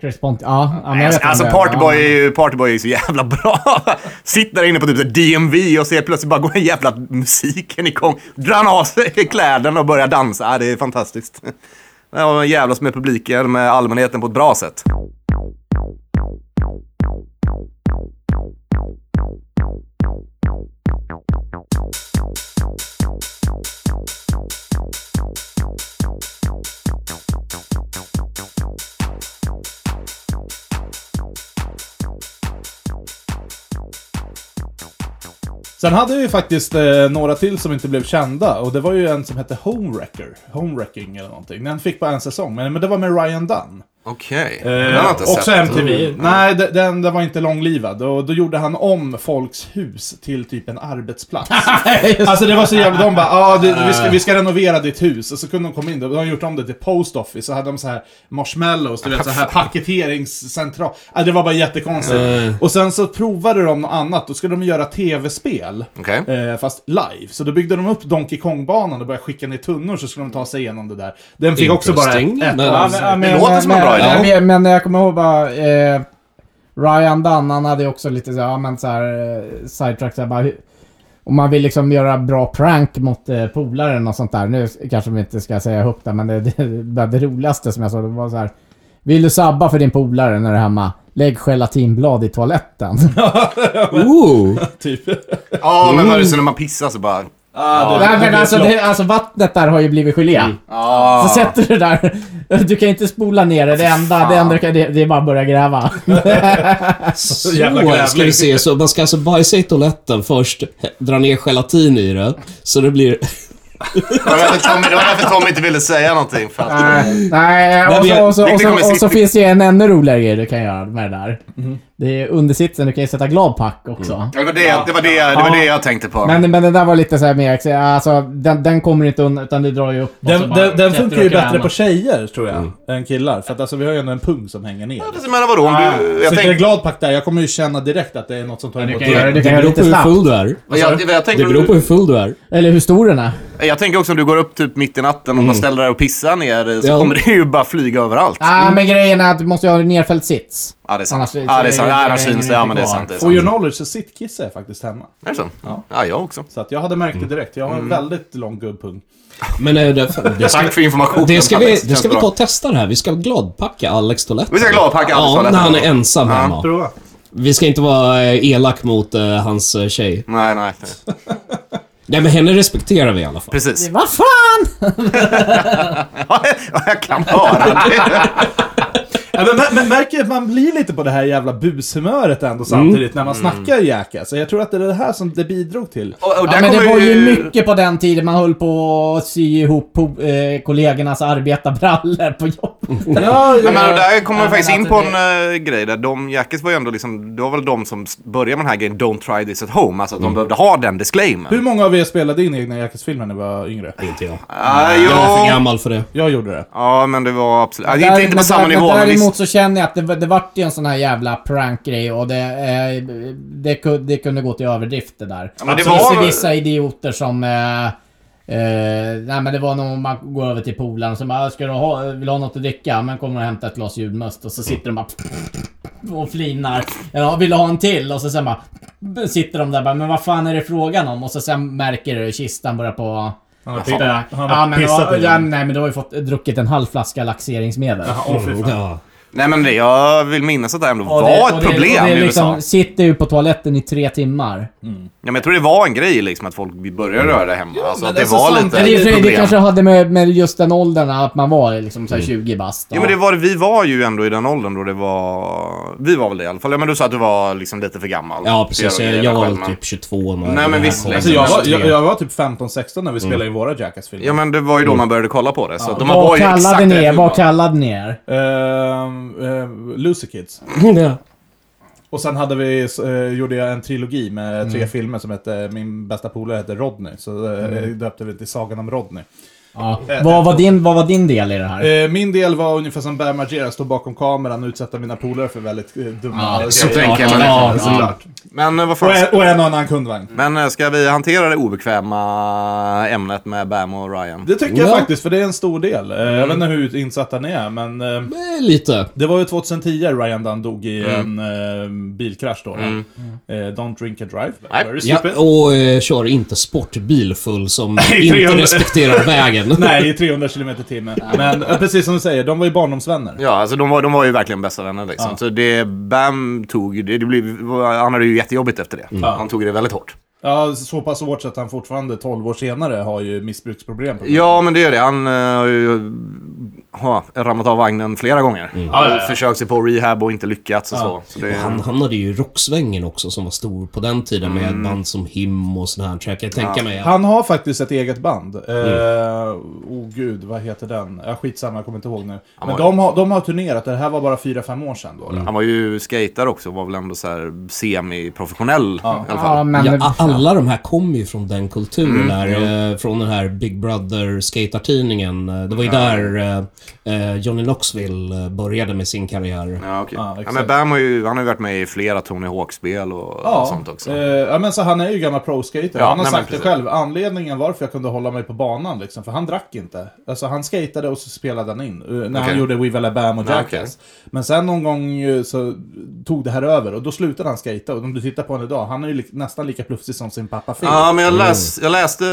D: Chris Ponti. Ja, ja men jag vet
C: Alltså
D: vem det är.
C: Partyboy är,
D: Ja.
C: ju- Partyboy är ju så jävla bra. Sitter där inne på typ så här DMV och ser plötsligt bara går den jävla musiken igång. Drar han av sig kläderna och börjar dansa. Ja, det är fantastiskt. Ja, och jävlas med publiken, med allmänheten på ett bra sätt.
B: Sen hade vi ju faktiskt eh, några till som inte blev kända och det var ju en som hette Homewrecker. Homewrecking eller någonting. Den fick bara en säsong, men, men det var med Ryan Dunn.
C: Okej.
B: Eh, också
C: Mm.
B: MTV. Nej, de- den, den var inte långlivad. Och då gjorde han om folks hus till typ en arbetsplats. alltså det var så jävla... De bara ah, det, vi, ska, vi ska renovera ditt hus. Och så kunde de komma in. Då de hade gjort om det till Post Office. Så hade de så här marshmallows, du vet så här paketeringscentral. Ah, det var bara jättekonstigt. Och sen så provade de något annat. Då skulle de göra tv-spel.
C: Okej.
B: Eh, fast live. Så då byggde de upp Donkey Kong-banan och började skicka ner tunnor så skulle de ta sig igenom det där. Den fick också bara ett,
E: Interesting,
B: ett
E: men-
D: Ja, men- ja, men-
C: Det låter som en
D: men-
C: bra idé.
D: men- Men, men jag kommer ihåg bara... Eh, Ryan Dunn, han hade ju också lite så här, ja, men så här eh, sidetrack så här, bara, hur- Om man vill liksom göra bra prank mot eh, polaren och sånt där. Nu kanske vi inte ska säga högt där, men det, det, det, det roligaste som jag såg det var så här. Vill du sabba för din polare när du är hemma? Lägg gelatinblad i toaletten.
E: Ooh.
B: typ.
C: Ja, men vad är det så när man pissar så bara...
D: Nej, men alltså, det, alltså vattnet där har ju blivit gelé.
C: Ah.
D: Så sätter du det där. Du kan inte spola ner det. Det enda, det, enda du kan, det, det är bara att börja gräva.
E: Så
B: jävla grävling.
E: ska vi se. Så man ska alltså bajsa i toaletten först, dra ner gelatin i det, så det blir...
C: Det var därför Tommy- det var därför Tommy inte ville säga någonting. För att...
D: Nej, och
E: men-
D: så, och så,
C: det
D: och
C: kommer
D: så, och så
C: sitt-
D: finns det ju en ännu roligare grej du kan göra med det där. Det är undersitsen, du kan ju sätta gladpack också.
C: Det var det, det, var det, det, var det jag tänkte på.
D: Men, men det där var lite så här mer, ex- alltså den, den kommer inte undan utan du drar ju upp och så
B: Den,
D: bara
B: den, den
D: Alltså, sätter
B: funkar
D: du
B: ju
D: och
B: bättre
D: krämar.
B: på tjejer, tror jag, än killar. För att alltså, vi har ju ändå en pung som hänger ner.
C: Jag menar vadå? Om du, jag
B: Sitter det
C: tänkte,
B: gladpack där, jag kommer ju känna direkt att det är något som tar emot.
D: kan göra
B: direkt.
D: det.
E: Det
D: kan
E: beror
D: lite
E: på hur
D: snabbt.
E: full du är.
C: jag, jag, jag,
E: Det
C: tänkte
E: beror på hur full du är.
D: Eller hur stor den är.
B: Mm.
C: jag tänker också om du går upp typ mitt i natten och man ställer dig och pissar ner så
E: Ja.
C: kommer det ju bara flyga överallt.
D: Nej, men grejen är att du måste ju ha en nerfälld sits.
C: Ja, det är sant.
D: Annars-
C: Ja, det är sant. Ja, Annars
D: hänger
C: syns
D: inte
C: det. Ja, men det är
D: kvar.
C: sant. Det är
B: For
C: sant.
B: your knowledge så sittkissar jag faktiskt hemma.
C: Är det så? Ja, jag också.
B: Så att jag hade märkt det direkt. Jag har en väldigt lång gubbpung.
E: Men eh, det, det, ska,
C: Tack för informationen.
E: det ska vi,
C: Alex.
E: det ska
C: Känns
E: vi ta
C: bra.
E: och testa det här. Vi ska gladpacka Alex toaletten.
C: Vi ska gladpacka Alex
E: Ja,
C: toaletten.
E: när han är ensam hemma.
B: Prova.
E: Vi ska inte vara eh, elak mot eh, hans eh, tjej.
C: Nej, nej.
E: Nej, men henne respekterar vi i alla fall.
C: Precis.
D: Vad fan!
C: Ja, jag kan höra det.
B: Ja, men, men, men märker att man blir lite på det här jävla bushumöret ändå samtidigt när man snackar Jackass. Så jag tror att det är det här som det bidrog till.
C: Och, och där
D: Ja, men det
C: kommer
D: var ju mycket på den tiden man höll på att sy ihop eh, kollegornas arbetarbrallor på jobbet.
B: Ja,
C: Nej, men där kommer
D: Ja,
C: vi faktiskt
D: men
C: in på
D: alltså
C: en eh, grej där de, Jackis var ju ändå liksom, det var väl de som s- började med den här grejen Don't try this at home, alltså att de behövde ha den disclaimern.
B: Hur många av er spelade in egna Jackass-filmer när ni var yngre?
E: Inte jag.
C: Ah,
E: Jag är för
C: jo.
E: gammal för det.
B: Jag gjorde det.
C: Ja, men det var absolut, ah,
D: Där-
C: inte, inte på
D: men
C: samma
D: där-
C: nivå,
D: men
C: men
D: Däremot
C: visst.
D: så känner jag att det, det vart ju en sån här jävla prankgrej och det, eh, det, kunde, det kunde gå till överdrift det där.
C: Ja, men det
D: det finns
C: var-
D: ju vissa idioter som... Eh, eh, nej men det var nog om man går över till polaren som bara ska du ha, vill du ha något att dricka? Men kommer och hämta ett glas julmust och så
B: Mm.
D: sitter de bara och flinar. Ja, vill du ha en till? Och så sen bara sitter de där bara, men vad fan är det frågan om? Och så sen märker du hur kistan börjar på...
B: Han har,
D: Spöka.
B: han
D: Ja,
B: har
D: men, det
B: pissat
D: var,
B: i
D: ja,
B: den.
D: nej, men du har ju fått, druckit en halv flaska laxeringsmedel.
B: Åh, fy fan.
E: Ja.
C: Nej, men det, jag vill minnas att det här ändå
D: Och
C: var
D: och
C: ett problem
D: och det
C: i
D: är
C: USA.
D: liksom, Sitter ju på toaletten i tre timmar.
C: Ja, men jag tror det var en grej liksom att folk började röra det hemma. alltså, att det
B: alltså,
C: var
B: samtidigt-
C: lite
D: Men det, är-
C: problem.
D: det kanske hade med, med just den åldern att man var liksom så här 20 bast.
C: Jo, men det var, vi var ju ändå i den åldern då det var... Vi var väl det i alla fall. Ja, men du sa att du var liksom lite för gammal.
E: ja, precis.
C: För att göra
E: Jag, jag var
C: själv,
E: väl
C: men-
E: typ 22 när
C: Nej,
E: den
C: men
E: här
C: visst,
E: kom.
B: Alltså, jag, var, jag,
E: 23.
B: jag var typ 15-16 när vi spelade in våra Jackass-filmer.
C: Ja, men det var ju då man började kolla på det. Så att de
D: vad
C: var ju
D: kallade
C: exakt
D: ni
C: rätt
D: er? Vad
C: humör.
D: kallade ni er?
B: Ehm, ehm, Lucy Kids.
E: Ja.
B: Och sen hade vi, eh, gjorde jag en trilogi med tre filmer som hette, min bästa polare hette Rodney. Så eh, döpte vi till Sagan om Rodney.
D: Ja.
C: Eh,
D: Vad, var din, vad var din del i det här?
B: Eh, min del var ungefär som Bär Margera, stå bakom kameran och utsätta mina polare för väldigt eh, dumma
D: Ja,
B: grejer.
C: Så tänker man.
D: Ja,
B: Såklart.
C: Men eh, vad fan.
B: Och, en, och en och annan kundvagn.
C: Men eh, ska vi hantera det obekväma ämnet med Bam och Ryan?
B: Det tycker jag
E: Ja.
B: faktiskt, för det är en stor del. Eh, Jag vet inte hur insatta ni är, men eh,
E: Eh, Lite.
B: det var ju 2010 Ryan Dunn dog i en
C: Mm.
B: eh, bilkrasch då. Eh, don't drink and drive.
C: Nej.
B: Very
E: Ja,
B: stupid.
E: och eh, kör inte sportbil full som inte
B: 300.
E: respekterar vägen.
B: Nej, i 300 km i timmen. Men eh, precis som du säger, de var ju barndomsvänner.
C: Ja, alltså de var, de var ju verkligen bästa vänner liksom. Så det Bam tog ju, det, det blev, han hade ju jättejobbigt efter det. Han tog det väldigt hårt.
B: Ja, så pass hårt så att han fortfarande 12 år senare har ju missbruksproblem. på grund av
C: Ja, men det gör det. Han eh, har ju ha, ramlat av vagnen flera gånger. Och försökt sig på rehab och inte lyckats och så. så det,
E: Han hamnade ju i rocksvängen också som var stor på den tiden med band som Him och sån här. Så jag kan tänka mig att...
B: Han har faktiskt ett eget band. Eh, oh gud, vad heter den? Ja, skitsamma, jag kommer inte ihåg nu. Men
C: var-
B: de har, de har turnerat, det här var bara 4-5 år sedan då. då.
C: han var ju skater också och var väl ändå så här semi-professionell i alla fall.
D: Ja, men...
E: Ja, a- alla de här kom ju från den kulturen där. Eh, från den här Big Brother skatertidningen. Eh, Det var ju där eh, eh, Johnny Knoxville eh, började med sin karriär.
C: Ja, okej.
B: Ja,
C: ja,
B: exakt.
C: men Bam har ju, han har ju varit med i flera Tony Hawk-spel och, och sånt också.
B: eh, ja, men så han är ju gammal pro-skater. han
C: Ja,
B: har
C: nej, men
B: sagt det
C: precis.
B: själv. Anledningen varför jag kunde hålla mig på banan, liksom, för han drack inte. Alltså han skatade och så spelade han in. eh, när han
C: Okej.
B: gjorde We Will Bam och
C: Ja,
B: Jackass. Men sen någon gång eh, så tog det här över och då slutade han skata. Och om du tittar på honom idag, han är ju li- nästan lika plufsig som sin pappa Phil.
C: Ja, men jag, läs, jag läste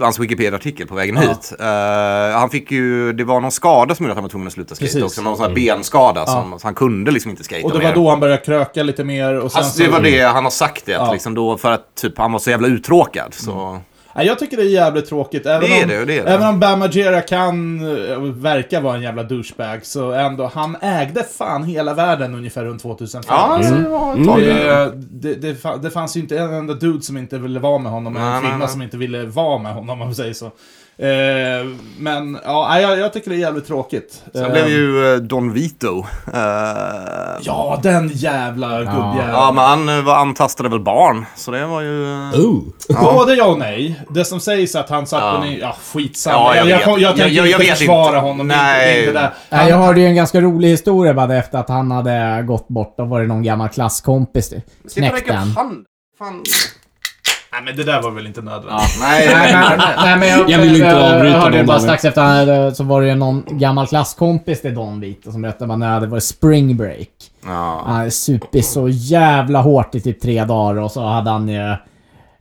C: hans Wikipedia-artikel på vägen hit. Eh, han fick ju, det var någon skada som gjorde att han var tvungen att sluta skate
B: Precis. Mm.
C: också. Någon sån här benskada som så han kunde liksom inte skata
B: och det
C: mer.
B: var då han började kröka lite mer. Och sen
C: Alltså, det
B: så-
C: var det han har sagt det, att
B: Ja. Mm.
C: liksom då, för att typ, han var så jävla uttråkad. Så.
B: Nej, jag tycker det är jävligt tråkigt. Även
C: Det är
B: om,
C: det, det är det.
B: Även om Bam Margera kan eh, verka vara en jävla douchebag, så ändå, han ägde fan hela världen ungefär runt 2005.
C: Ja, alltså, det var ett
E: Mm.
C: tag där.
B: Det, det, det, fa- det fanns ju inte en enda dude som inte ville vara med honom, eller
C: Nej,
B: en
C: nej,
B: kvinna
C: nej.
B: som inte ville vara med honom om man säger så. Eh, men ja, nej, jag, jag tycker det är jävligt tråkigt.
C: Sen
B: Eh,
C: blev ju eh, Don Vito. eh,
B: Ja, den jävla gubbjäveln.
C: ja, men han eh, var, antastade väl barn. Så det var ju... eh,
E: Oh.
B: Både ja och nej. Det som sägs är att han satt på ni... Ja, skitsamma.
C: Ja, jag
B: jag, jag, jag,
C: vet.
B: tänker
C: Jag- jag
B: inte
C: vet
B: försvara
C: inte.
B: honom. Det är inte- Det är inte
C: Nej.
B: där.
D: Nej, jag hörde ju en ganska rolig historia bara efter att han hade gått bort. och var det någon gammal klasskompis
C: Sitter och
D: knäckt
C: räcker
D: den.
C: upp handen. Fan.
A: Nej, men det där var väl inte nödvändigt.
C: Nej,
D: Nej,
C: nej,
D: men, nej, men jag,
E: Jag vill inte avbryta
D: hörde
E: någon,
D: bara
E: Daniel.
D: strax efter han hade- så var det ju någon gammal klasskompis till Don Vito som berättade att när det hade varit spring break.
C: Ja.
D: Han hade supit så jävla hårt i typ tre dagar och så hade han ju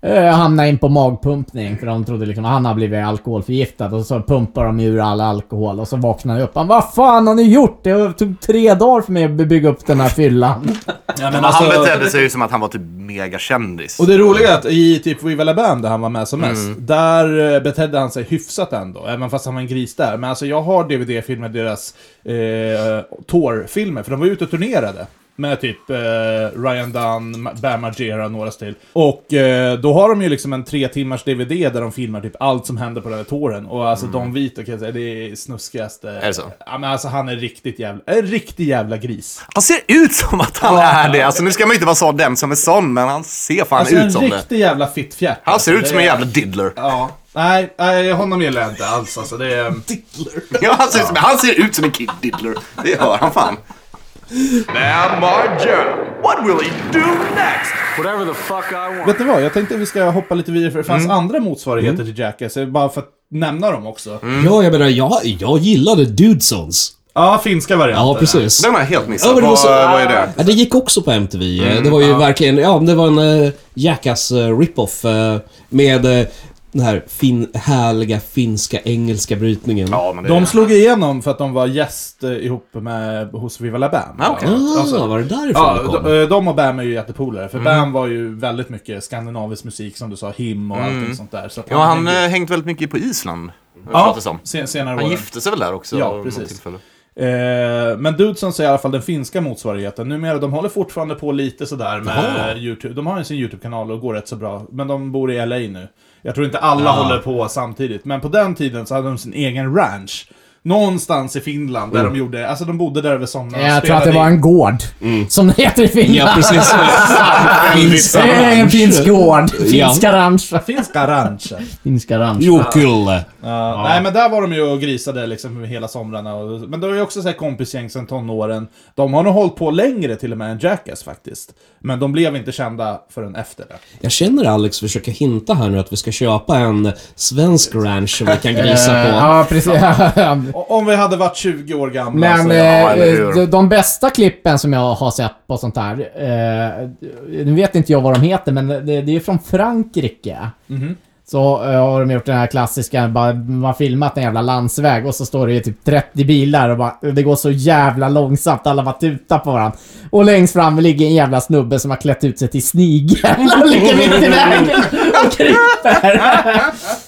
D: eh, hamnat in på magpumpning för de trodde liksom att han hade blivit alkoholförgiftad och så pumpar de ur all alkohol och så vaknar han upp. Han vad fan har ni gjort? Det tog tre dagar för mig att bygga upp den här fyllan.
B: Ja,
C: Men han
A: alltså-
C: betedde sig ju som att han var typ megakändis.
B: alltså- Och det roliga är att i typ We Will Band, där han var med som
C: Mm.
B: mest, där eh, betedde han sig hyfsat ändå. Även fast han var en gris där. Men alltså jag har DVD-filmer, deras eh, Tor-filmer, för de var ute och turnerade. Med typ eh, Ryan Dunn, Ma- Bam Margera, några till. Och eh, då har de ju liksom en tre timmars DVD där de filmar typ allt som händer på den här touren. Och alltså Don Vito kan jag säga, det är snuskigaste.
C: Mm. Är det så?
B: Ja men alltså han är riktigt jävla, en riktig jävla gris.
C: Han ser ut som att han är det. Alltså nu ska man inte vara så den som är sån, men han ser fan
B: Alltså
C: ut
B: en
C: som det.
B: riktig jävla fittfjärt.
C: Han ser
B: Alltså,
C: ut som
B: det
C: en
B: är-
C: jävla diddler.
B: Ja. Nej, nej, honom gillar jag inte alls alltså. Det är...
C: Ja, han, ser ut som, han ser ut som en kid diddler. Det hör han fan. Now my general, what will he do next?
H: Whatever the fuck I want.
B: Vet ni vad, jag tänkte vi ska hoppa lite vidare för det fanns
C: Mm.
B: andra motsvarigheter till Jackass. eh, Bara för att nämna dem också.
E: Ja, jag menar, jag, jag gillade Dudesons.
B: Ja, finska varianter.
E: Ja, precis.
C: Den har jag helt missat.
E: Ja, men det var
C: vad,
E: så-
C: vad är det?
E: Ja, det gick också på MTV. Eh, det var ju verkligen, ja det var en uh, Jackass eh, rip-off eh, med eh, den här fin, härliga finska engelska brytningen.
C: Ja, men det
B: De slog igenom för att de var gäst eh, ihop med, hos Viva La Bam.
C: Ja, okej.
E: Ah,
B: Alltså-
E: var det därifrån
B: Ja,
E: det kom?
B: de, eh, de och Bam är ju jättepolare, för
C: Mm.
B: Bam var ju väldigt mycket skandinavisk musik som du sa, him och allting sånt där. Så att
C: Mm. Ja, han
B: hängde-
C: eh, hängt väldigt mycket på Island,
B: ja,
C: pratas om.
B: sen, senare
C: Han
B: åren.
C: gifte sig väl där också?
B: Ja,
C: vid något
B: precis.
C: tillfälle.
B: Eh, men Dudesons är i alla fall den finska motsvarigheten. Numera, de håller fortfarande på lite sådär med YouTube. De har ju sin YouTube-kanal och går rätt så bra. Men de bor i LA nu. Jag tror inte alla håller på samtidigt. Men på den tiden så hade de sin egen ranch. Någonstans i Finland där de gjorde, alltså de bodde där över sommaren. och
D: Eh, Jag tror att det
B: spelade
D: var
B: in.
D: en gård.
E: Mm.
D: Som det heter i Finland.
E: Ja, precis.
D: Det är en finsk gård.
E: Ja.
D: Finska ranch.
B: Finska ranchen.
D: Finska ranch.
E: Jokulle.
B: Ja. Nej men där var de ju och grisade liksom hela somrarna. Och, men det var ju också så här kompisgäng sedan tonåren. De har nog hållit på längre till och med än Jackass faktiskt. Men de blev inte kända förrän efter det.
E: Jag känner Alex försöka hinta här nu att vi ska köpa en svensk ranch som vi kan grisa på.
D: Eh, Ja, precis.
B: O- Om vi hade varit 20 år gamla
D: Men
B: så...
C: Alltså, ja,
D: eh,
C: eller hur?
D: de, de bästa klippen som jag har sett på sånt här, eh, nu vet inte jag vad de heter, men det, det är ju från Frankrike. Så eh, har de gjort den här klassiska, bara, man har filmat en jävla landsväg och så står det ju typ 30 bilar och bara, det går så jävla långsamt, alla bara tutar på varandra. Och längst fram ligger en jävla snubbe som har klätt ut sig till snigel och ligger mitt i vägen och kryper.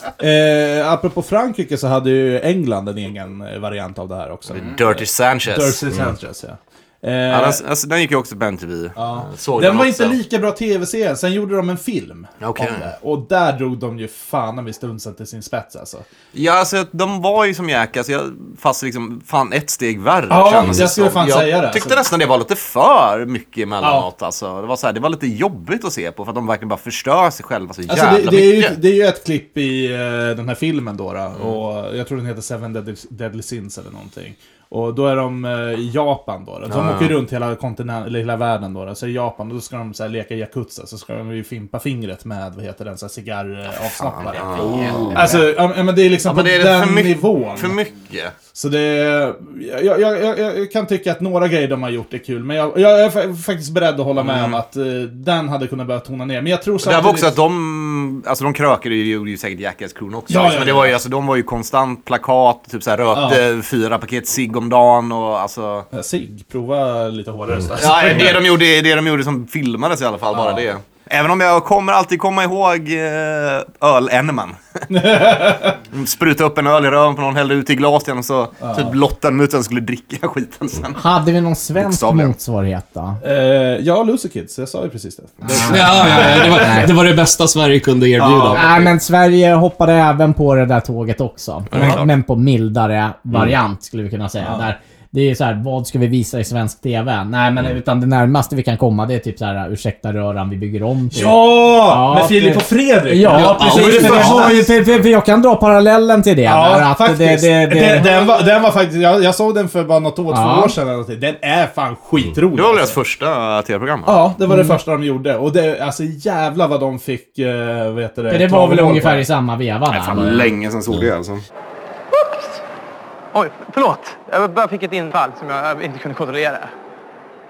B: Eh, apropå Frankrike så hade ju England en egen eh, variant av det här också.
C: Dirty Mm. Sanchez.
B: Dirty Sanchez, ja. Eh,
C: Ja, den, alltså, den gick ju också på MTV.
B: ja.
C: Eh, Såg
B: Den var
C: också.
B: inte lika bra tv-serie, sen gjorde de en film
C: Okej.
B: om det. Och där drog de ju fan i stunsen till sin spets alltså.
C: Ja, alltså de var ju som Jackass, jag, fast liksom fan ett steg värre
B: Ja,
C: kändes det
B: jag skulle
C: som.
B: fan
C: jag
B: säga det,
C: tyckte
B: alltså.
C: nästan det var lite för mycket emellanåt alltså. Det var, så här, det var lite jobbigt att se på för att de verkligen bara förstör sig själva så
B: alltså
C: jävla
B: det, det, är ju,
C: mycket. Mm.
B: det är ju ett klipp i eh, den här filmen då, då och jag tror den heter Seven Deadly, Deadly Sins eller någonting. Och då är de eh, i Japan då. då. De åker runt hela, kontinent, eller hela världen då, då. Så i Japan, och då ska de så här, leka yakuza. Så ska de ju fimpa fingret med, vad heter den, så här cigarravsnappare. Alltså, ja, men det är liksom
C: Ja, men
B: på
C: det är
B: den
C: för mycket-
B: nivån.
C: För mycket.
B: Så det... Jag, jag, jag, jag kan tycka att några grejer de har gjort är kul, men jag, jag är fa- faktiskt beredd att hålla med om att eh, den hade kunnat börja tona ner. Men jag tror
C: Mm. Det här
B: samtidigt...
C: var också att de, alltså de krökade ju, gjorde ju säkert Jackass-kron också.
B: Ja,
C: liksom.
B: ja,
C: Men det
B: ja.
C: var ju, alltså de var ju konstant plakat, typ så här rökte fyra paket cigg om dagen och alltså.
B: Eh, Sig, prova lite hårdare sådär.
C: Ja, det de gjorde, det de gjorde som filmades i alla fall, bara det. Även om jag kommer alltid komma ihåg eh, öl-Enneman. Spruta upp en öl i röven på någon, hällde ut i glas igen och så typ lottade de ut den och skulle dricka skiten sen.
D: Hade vi någon svensk
C: Bokstavligen.
D: motsvarighet då?
B: Eh, ja, Lucy Kids, jag sa ju precis det.
E: Ja, ja, ja, det, var, det var det bästa Sverige kunde erbjuda.
D: Nej, men Sverige hoppade även på det där tåget också. men, men på mildare variant skulle vi kunna säga. Där, det är ju så här, vad ska vi visa i svensk TV? Nej, men utan det närmaste vi kan komma det är typ så här, ursäkta röran, vi bygger om. Typ.
B: Ja!
D: Ja,
B: Med Filip och
D: precis.
B: Fredrik!
D: Ja, precis.
B: det
D: För,
B: var-
D: jag har ju- för, för, för jag kan dra parallellen till det. där,
B: Ja,
D: att
B: faktiskt.
D: Det, det,
B: Den,
D: det,
B: den, var, den var faktiskt... Jag, jag såg den för bara något år,
D: Ja.
B: två år sedan eller någonting. Den är fan skitrolig.
C: Det var väl
B: alltså.
C: deras första tv-program? va?
B: Ja, det var det första de gjorde. Och det, alltså jävla vad de fick, eh, vad heter det?
D: det var väl
B: klagomål på.
D: ungefär i samma veva
C: Nej, fan
D: där.
C: vad länge sedan såg det alltså.
I: Oj, förlåt. Jag bara fick ett infall som jag eh, inte kunde kontrollera.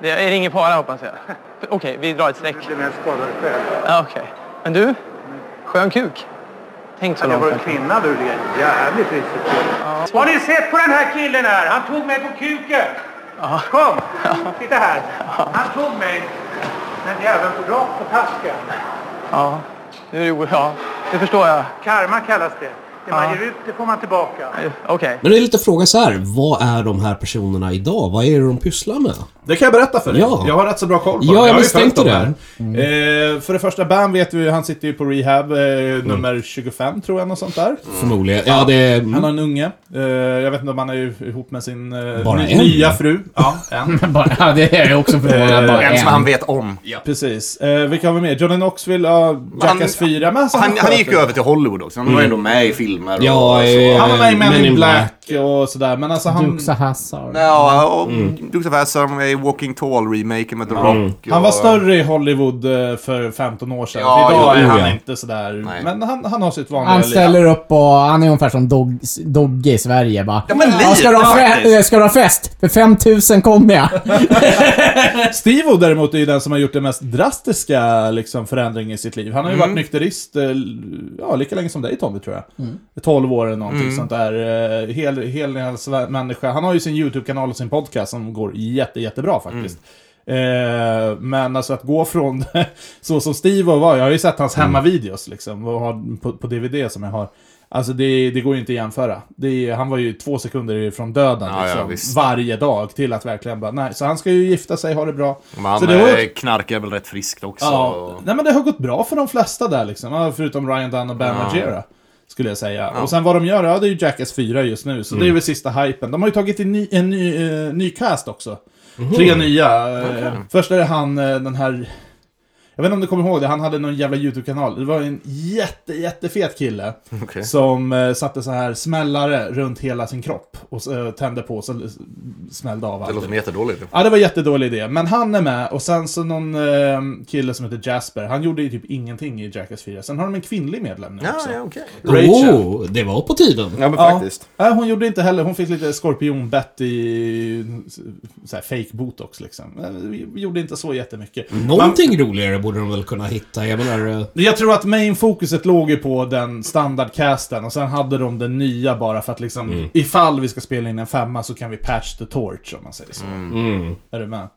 I: Det är ingen fara hoppas jag. Okej, vi drar ett streck. Det blir mer skadad själv. Ja, okej. Men du, skön kuk. Tänk så långt. kanske.
H: kvinna du led jävligt risigt. Har ni sett på den här killen här? Han tog mig på kuken. Kom, titta här. Han tog mig Men jäveln får rakt på tasken.
I: Ja, nu är det, o- ja, det förstår jag.
H: Karma kallas det. Det man
I: Ja.
H: ger ut, det får man tillbaka.
I: Eh, Okej.
E: Men det är lite frågan så här, vad är de här personerna idag? Vad är det de pysslar med?
B: Det kan jag berätta för dig.
E: Ja.
B: Jag har rätt så bra koll på
E: Ja,
B: dem.
E: jag
B: har ju
E: misstänkte
B: följt dem här. Eh, för det första, Bam vet vi han sitter ju på rehab eh, nummer 25 tror jag, något sånt där.
E: Förmodligen. Ja, det är...
B: Han har en unge. Eh, jag vet inte om han är ihop med sin eh,
E: Bara
B: ny-
E: en?
B: nya fru. Ja, en.
D: Bara, det är jag också förvånad. Bara
C: En
D: en.
C: som han vet om.
B: Precis. Eh, vilka har vi mer? Johnny Knoxville, ja, Jackass 4. Men alltså,
C: Han, han gick ju
B: sköter-
C: över till Hollywood också. Han var ändå med i filmer och,
E: Ja,
C: och
E: eh,
C: så.
B: Han var med i Men,
E: Men
B: in
E: in
B: Black, och sådär, men alltså han...
D: Dukes of Hazzard.
C: Ja, och Dukes of Hazzard var med i Walking Tall-remaken med The Rock.
B: Han var
C: och-
B: större i Hollywood eh, för 15 år sedan.
C: Ja,
B: för idag
C: jo,
B: är han
E: ja.
B: inte sådär...
C: Nej.
B: Men han, han har sitt vanliga
D: Han
B: liv.
D: ställer upp och han är ungefär som dog, Dogge i Sverige bara.
C: Ja, men lite
D: ska, du ha fe-
C: faktiskt.
D: eh, ska du ha fest? För 5000 kommer jag.
B: Steve-O däremot är ju den som har gjort den mest drastiska liksom, förändringen i sitt liv. Han har ju
C: Mm.
B: varit nykterist eh, l- ja, lika länge som dig Tommy, tror jag. 12 år eller någonting
C: Mm.
B: sånt där. Eh, Hel, hel, hel människa. Han har ju sin YouTube-kanal och sin podcast som går jätte, jättebra faktiskt. Eh, men alltså att gå från så som Steve var, jag har ju sett
C: Mm.
B: hans hemmavideos liksom, och har på, på DVD som jag har. Alltså det, det går ju inte att jämföra. Det, är- han var ju två sekunder från döden
C: Ja, ja,
B: liksom,
C: visst.
B: varje dag till att verkligen bara, nej. Så han ska ju gifta sig, ha det bra.
C: Men han
B: så det har-
C: eh, knarkar väl rätt friskt också.
B: ja, nej men det har gått bra för de flesta där liksom, Ja, förutom Ryan Dunn och Ben Margera. Skulle jag säga. Och sen vad de gör, ja det är ju Jackass 4 just nu, så
C: Mm.
B: det är väl sista hypen. De har ju tagit in ny, en ny, eh, ny cast också.
C: Mhm.
B: Tre nya. eh, Först är det han, eh, den här... Jag vet inte om du kommer ihåg det, han hade någon jävla YouTube-kanal. Det var en jätte, jättefet kille.
C: Okej.
B: Som eh, satte så här smällare runt hela sin kropp. Och eh, tände på så smällde av
C: Det
B: allt.
C: låter som jättedåligt.
B: Ja, det var en jättedålig idé. Men han är med och sen så någon eh, kille som heter Jasper, han gjorde ju typ ingenting i Jackass 4. Sen har de en kvinnlig medlem nu också.
C: okej.
B: Rachel.
E: Oh, det var på tiden.
C: Ja, men
B: Ja.
C: faktiskt.
B: Nej, hon gjorde inte heller. Hon fick lite skorpionbett i så här, fake botox liksom. Eh, Gjorde inte så jättemycket.
E: Någonting roligare borde de väl kunna hitta. Jag menar... eh,
B: Jag tror att main-fokuset låg ju på den standardcasten och sen hade de den nya bara för att liksom ifall vi ska spela in en femma så kan vi patch the torch om man säger så. Är du med?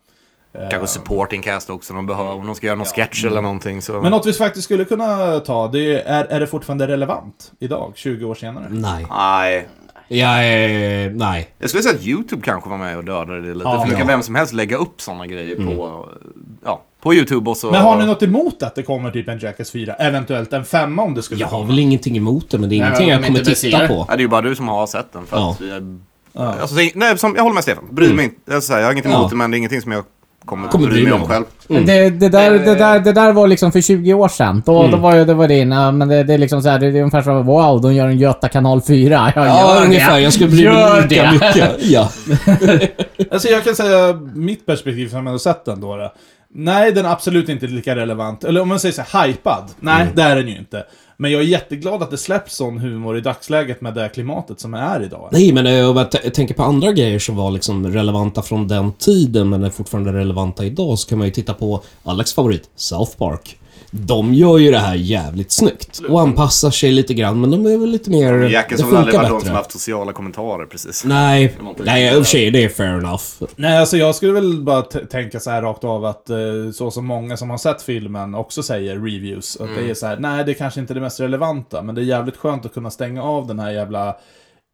C: Kanske supporting cast också. De behöver, om de ska göra någon sketch eller någonting så...
B: Men något vi faktiskt skulle kunna ta, det är, är det fortfarande relevant idag, 20 år senare?
E: Nej.
C: Nej.
E: Jag är... Nej.
C: Jag skulle säga att YouTube kanske var med och dödade det lite.
B: Ja.
C: för nu kan
B: Ja.
C: vem som helst lägga upp sådana grejer på, ja, på YouTube och så...
B: Men har ni något emot att det kommer typ en Jackass 4? Eventuellt en femma om det skulle
E: Jag har
B: komma?
E: väl ingenting emot det, men det är ingenting
D: men
E: jag
D: de
E: kommer
D: inte
E: titta
D: ser.
E: på.
C: Ja, det är ju bara du som har sett den. För
E: Ja.
C: att jag, alltså, det är- nej, som, jag håller med Stefan. Bryr mig inte. Jag, säger, jag har inget emot
E: Ja.
C: det, men det är ingenting som jag kommer,
E: Kommer
C: bry mig om själv.
E: Mm.
D: Det, det, där, det, där, det där var liksom för 20 år sedan.
E: Mm.
D: Då, då var ju, det var det innan, men det, det är liksom så här, det är ungefär som wow, de gör en Göta kanal 4. Jag gör
E: Ja,
D: det.
E: ungefär. Jag skulle bli
D: Gör
E: lika
D: det.
E: mycket. Ja.
B: Alltså jag kan säga mitt perspektiv som jag har sett den då. då. Nej, den är absolut inte lika relevant. Eller om man säger så här, hypad. Nej, det är den ju inte. Men jag är jätteglad att det släpps sån humor i dagsläget med det klimatet som är idag.
E: Nej, men eh, om jag t- tänker på andra grejer som var liksom relevanta från den tiden, men är fortfarande relevanta idag, så kan man ju titta på Alex favorit, South Park. De gör ju det här jävligt snyggt och anpassar sig lite grann, men de är väl lite mer...
C: Jackass
E: det
C: har väl aldrig
E: funkar
C: varit de som
E: bättre.
C: haft sociala kommentarer precis.
E: Nej,
C: har inte
E: nej, i och för sig, det är fair enough.
B: Nej, alltså jag skulle väl bara t- tänka så här rakt av att eh, så som många som har sett filmen också säger, reviews, att
C: Mm.
B: det är så här, nej det är kanske inte är det mest relevanta, men det är jävligt skönt att kunna stänga av den här jävla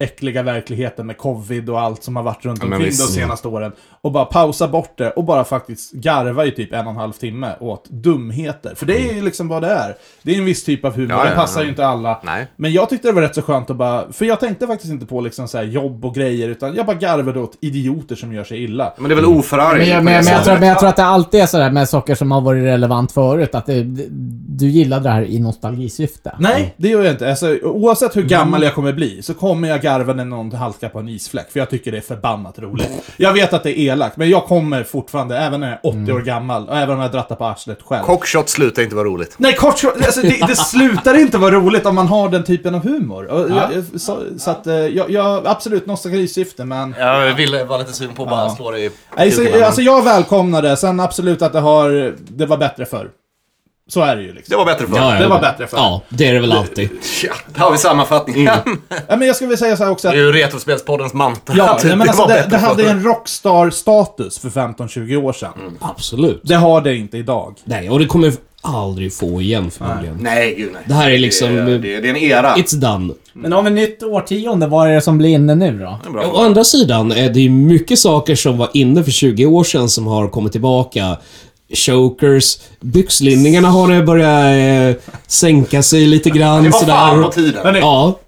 B: äckliga verkligheten med covid och allt som har varit runt
C: men
B: omkring de
C: visst.
B: senaste åren. Och bara pausa bort det och bara faktiskt garva i typ en och en halv timme åt dumheter. För det är ju liksom vad det är. Det är en viss typ av humor,
C: Ja, ja,
B: den passar
C: ja.
B: ju inte alla.
C: Nej.
B: Men jag tyckte det var rätt så skönt att bara, för jag tänkte faktiskt inte på liksom så här jobb och grejer, utan jag bara garvade åt idioter som gör sig illa.
C: Men det är väl oförargligt?
D: Men jag,
C: på
D: men,
C: det
D: jag- men, jag
C: sättet.
D: tror, men jag tror att det alltid är sådär med saker som har varit relevant förut, att det, det- du gillade det här i nostalgisyfte.
C: Mm.
B: Nej, det gör jag inte. Alltså, oavsett hur gammal jag kommer bli så kommer jag garva när någon halkar på en isfläck. För jag tycker det är förbannat roligt. Jag vet att det är elakt, men jag kommer fortfarande, även när jag är 80
C: Mm.
B: år gammal, och även om jag drattar på arslet själv.
C: Cockshot slutar inte vara roligt.
B: Nej, kort alltså, det, det slutar inte vara roligt om man har den typen av humor. Och jag- jag, så, så att, eh, jag, jag, absolut nostalgisyfte, men...
C: Jag ville vara lite sugen på att bara
B: Ja. alltså-
C: slå dig i
B: Nej, så, alltså jag välkomnar det. Sen absolut att det har... Det var bättre förr. Så är det ju liksom.
C: Det var bättre förr.
E: Ja, ja,
B: Det var bättre förr.
E: Ja, det är det väl alltid.
C: Tja, där har vi sammanfattningen.
B: Ja, men jag skulle vilja säga så här också
C: Det
B: att...
C: är ju Retrospelspoddens mantel.
B: Mm. Ja,
C: Att
B: nej, men alltså,
C: var
B: det,
C: bättre
B: det hade
C: förr. Mm.
B: en rockstar-status för 15-20 år sedan.
E: Absolut.
B: Det har det inte idag.
E: Nej, och det kommer vi aldrig få igen förmodligen.
C: Nej, gud nej.
E: Det här är liksom-
C: Det, det, det är en era.
E: It's done.
D: Men om ett nytt årtionde, vad är det som blir inne nu då?
C: Bra.
E: Å andra sidan är det ju mycket saker som var inne för 20 år sedan som har kommit tillbaka. Chokers, byxlinningarna har börjat eh, sänka sig lite grann
C: Det var
E: sådär.
C: fan på tiden.
B: Men nu,
E: Ja,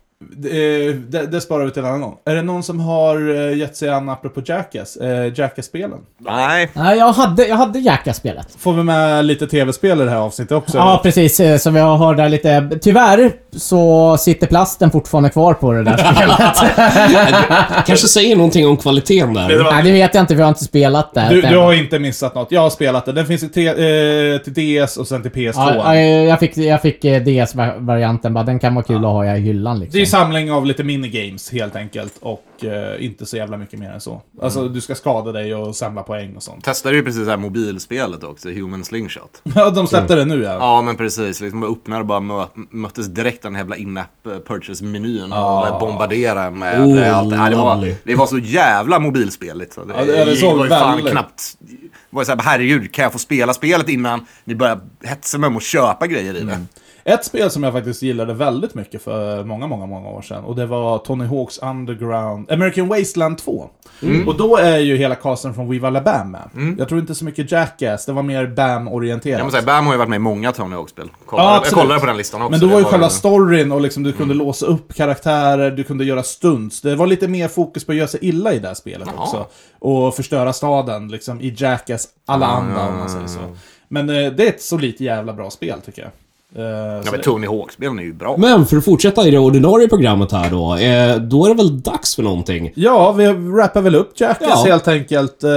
B: eh, det, det sparar vi till en annan gång. Är det någon som har eh, gett sig an, apropå Jackass, eh, Jackass-spelen?
C: Nej.
D: Nej, jag hade, jag hade Jackass-spelet.
B: Får vi med lite tv-spel i det här avsnittet också?
D: Ja, precis. eh, Som jag har där lite. Tyvärr så sitter plasten fortfarande kvar på det där spelet.
E: kanske säger någonting om kvaliteten där.
D: Nej, det vet jag inte. Vi har inte spelat det.
B: Du,
D: än.
B: du har inte missat något. Jag har spelat det. Den finns i te, eh, till DS och sen till PS2.
D: Ja, ja, jag fick, jag fick eh, DS-varianten bara. Den kan vara kul att ha i hyllan
B: Det är ju
D: liksom.
B: samling av lite minigames helt enkelt och eh, inte så jävla mycket mer än så. Alltså
D: Mm.
B: du ska skada dig och samla poäng och sånt.
C: Testade ju precis det här mobilspelet också, Human Slingshot.
B: Ja, de släppte
D: Mm.
B: det nu ja.
C: Ja, men precis. Liksom öppnade och bara mö möttes direkt av den här jävla in-app eh, purchase-menyn och bombarderade en med
E: Oh,
C: allt. Ja, det, var,
E: lovely.
C: det var så jävla mobilspeligt. Så det,
B: Ja, det- det såg
C: var ju fan
B: väldigt.
C: knappt... Det var ju så här, herregud, kan jag få spela spelet innan ni börjar hetsa mig om att köpa grejer i det?
B: Mm. Ett spel som jag faktiskt gillade väldigt mycket för många, många, många år sedan. Och det var Tony Hawks Underground... American Wasteland 2.
D: Mm.
B: Och då är ju hela casten från Viva La Bam med. Jag tror inte så mycket Jackass, det var mer Bam-orienterat.
C: Jag måste säga, Bam har ju varit med i många Tony Hawk-spel. Kollade-
B: Ja,
C: jag
B: absolut.
C: kollade på den listan också.
B: Men då var ju
C: Det
B: själva storyn och liksom du kunde låsa upp karaktärer, du kunde göra stunts. Det var lite mer fokus på att göra sig illa i det här spelet också. Och förstöra staden, liksom i Jackass alla
C: Ah.
B: andra om man säger så. Men eh, det är ett så lite jävla bra spel tycker jag. Eh,
C: Ja,
B: så
C: men
B: det-
C: Tony Hawk-spelen är ju bra.
E: Men för att fortsätta i det ordinarie programmet här då. Eh, då är det väl dags för någonting.
B: Ja, vi wrappar väl upp Jackass
E: Ja.
B: helt enkelt. Eh,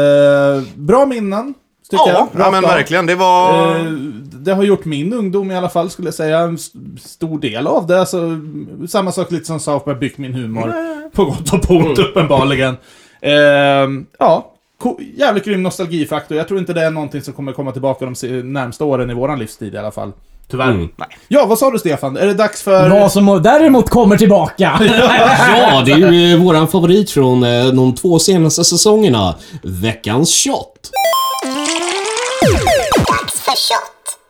B: Bra minnen, tycker jag.
C: Ja, ja,
B: Rakt
C: men
B: av.
C: verkligen. Det var...
B: Eh, Det har gjort min ungdom i alla fall, skulle jag säga. En s- stor del av det. Alltså, samma sak lite som South Park byggt min humor. På gott och på ont, uppenbarligen. Ehm, ja, ko- jävligt grym nostalgifaktor. Jag tror inte det är någonting som kommer komma tillbaka de se- närmsta åren i våran livstid i alla fall. Tyvärr.
E: Mm.
B: Ja, vad sa du Stefan? Är det dags för...
D: Vad som däremot kommer tillbaka.
E: Ja, det är ju eh, våran favorit från eh, de två senaste säsongerna. Veckans shot.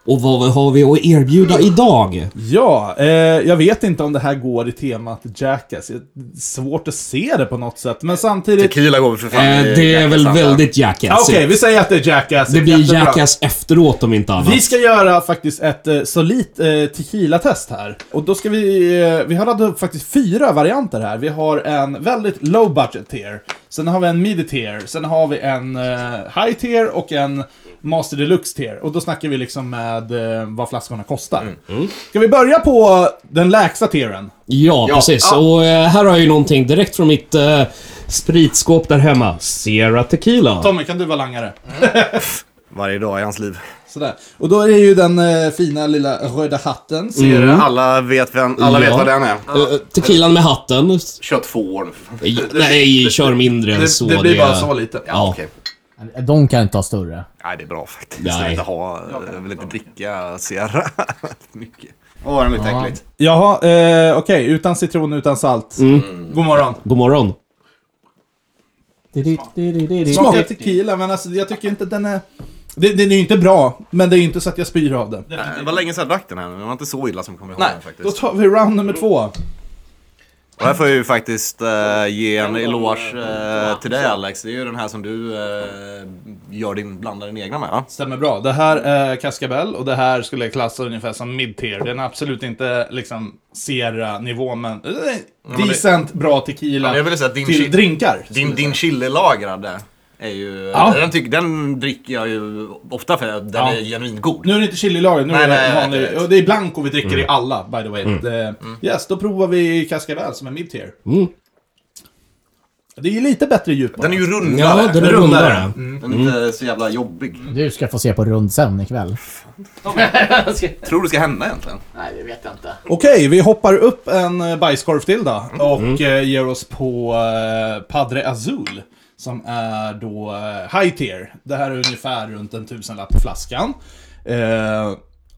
E: Och vad har vi att erbjuda idag?
B: Ja, eh, jag vet inte om det här går i temat Jackass. Jag- Svårt att se det på något sätt, men samtidigt...
C: Tequila går väl för fan
E: Eh,
C: i
E: det är väl
C: Jackass, antar jag.
E: väldigt
B: Ja,
E: Jackass.
B: Okej, vi säger att det är Jackass.
E: Det blir
B: Jättebra.
E: Jackass efteråt om inte annat.
B: Vi ska göra faktiskt ett eh, solitt eh, tequila-test här. Och då ska vi... Eh, vi har radat upp faktiskt fyra varianter här. Vi har en väldigt low budget tier. Sen har vi en midi tier. Sen har vi en eh, high tier och en master deluxe tier. Och då snackar vi liksom med eh, vad flaskorna kostar.
A: Mm,
B: Ska vi börja på den lägsta tieren?
E: Ja, precis. Och eh, här har jag ju någonting direkt från mitt eh, spritskåp där hemma. Sierra Tequila.
B: Tommy, kan du vara langare?
C: Varje dag i hans liv.
B: Sådär. Och då är det ju den eh, fina lilla röda
A: Mm,
B: hatten.
C: Ser du? Alla vet, vem, alla vet
E: Ja.
C: vad den är.
E: Eh, tequilan med hatten.
C: Kött får.
E: Nej, kör mindre än så.
A: det blir bara så lite.
E: Ja.
C: Okej.
D: De kan inte ha större.
C: Nej, det är bra faktiskt.
E: Nej.
C: Jag vill inte ha... Jag vill inte dricka Sierra mycket. Åh, den luktar äckligt.
B: Jaha, eh, okej. Utan citron, utan salt. God morgon.
E: God morgon.
B: Smakar tequila, men alltså, jag tycker inte den är... Det- Den är ju inte bra, men det är ju inte så att jag spyr av den.
C: Nej, Det var länge sedan jag drack den här. men Det var inte så illa som jag kommer ihåg den
B: Då
C: faktiskt.
B: tar vi round nummer två.
C: Och här får jag ju faktiskt eh, ge en eloge eh, till dig Alex. Det är ju den här som du eh, gör din, blandar din egna med va?
B: Stämmer bra. Det här är Cascabel och det här skulle jag klassa ungefär som mid-tier. Den är absolut inte liksom Sierra-nivå, men... eh, decent, bra tequila
C: Ja, jag vill säga att din
B: till
C: chi-
B: drinkar.
C: Din, din chililagrade är ju... eh,
B: Ja.
C: Den, tyck, den dricker jag ju ofta för att den är genuint god.
B: Nu är det inte chililager, nu
C: Nej,
B: är det
C: nej, Mm.
B: vanlig...
C: jag vet.
B: och det är blanco vi dricker
E: Mm.
B: i alla, by the way. Det, yes, då provar vi Cascabel som är mid-tier.
E: Mm.
B: Det är ju lite bättre djup.
C: Den är ju rundare. Mm.
E: Ja, den är rundare.
C: Den är inte så jävla jobbig.
D: Du ska få se på rundsändning ikväll.
C: Tror du ska hända egentligen?
D: Nej, det vet jag inte.
B: Okej, vi hoppar upp en eh, bajskorv till då
C: Mm.
B: och
E: Mm.
B: eh, ger oss på eh, Padre Azul. Som är då eh, high tier. Det här är ungefär runt en tusenlapp flaskan. Eh,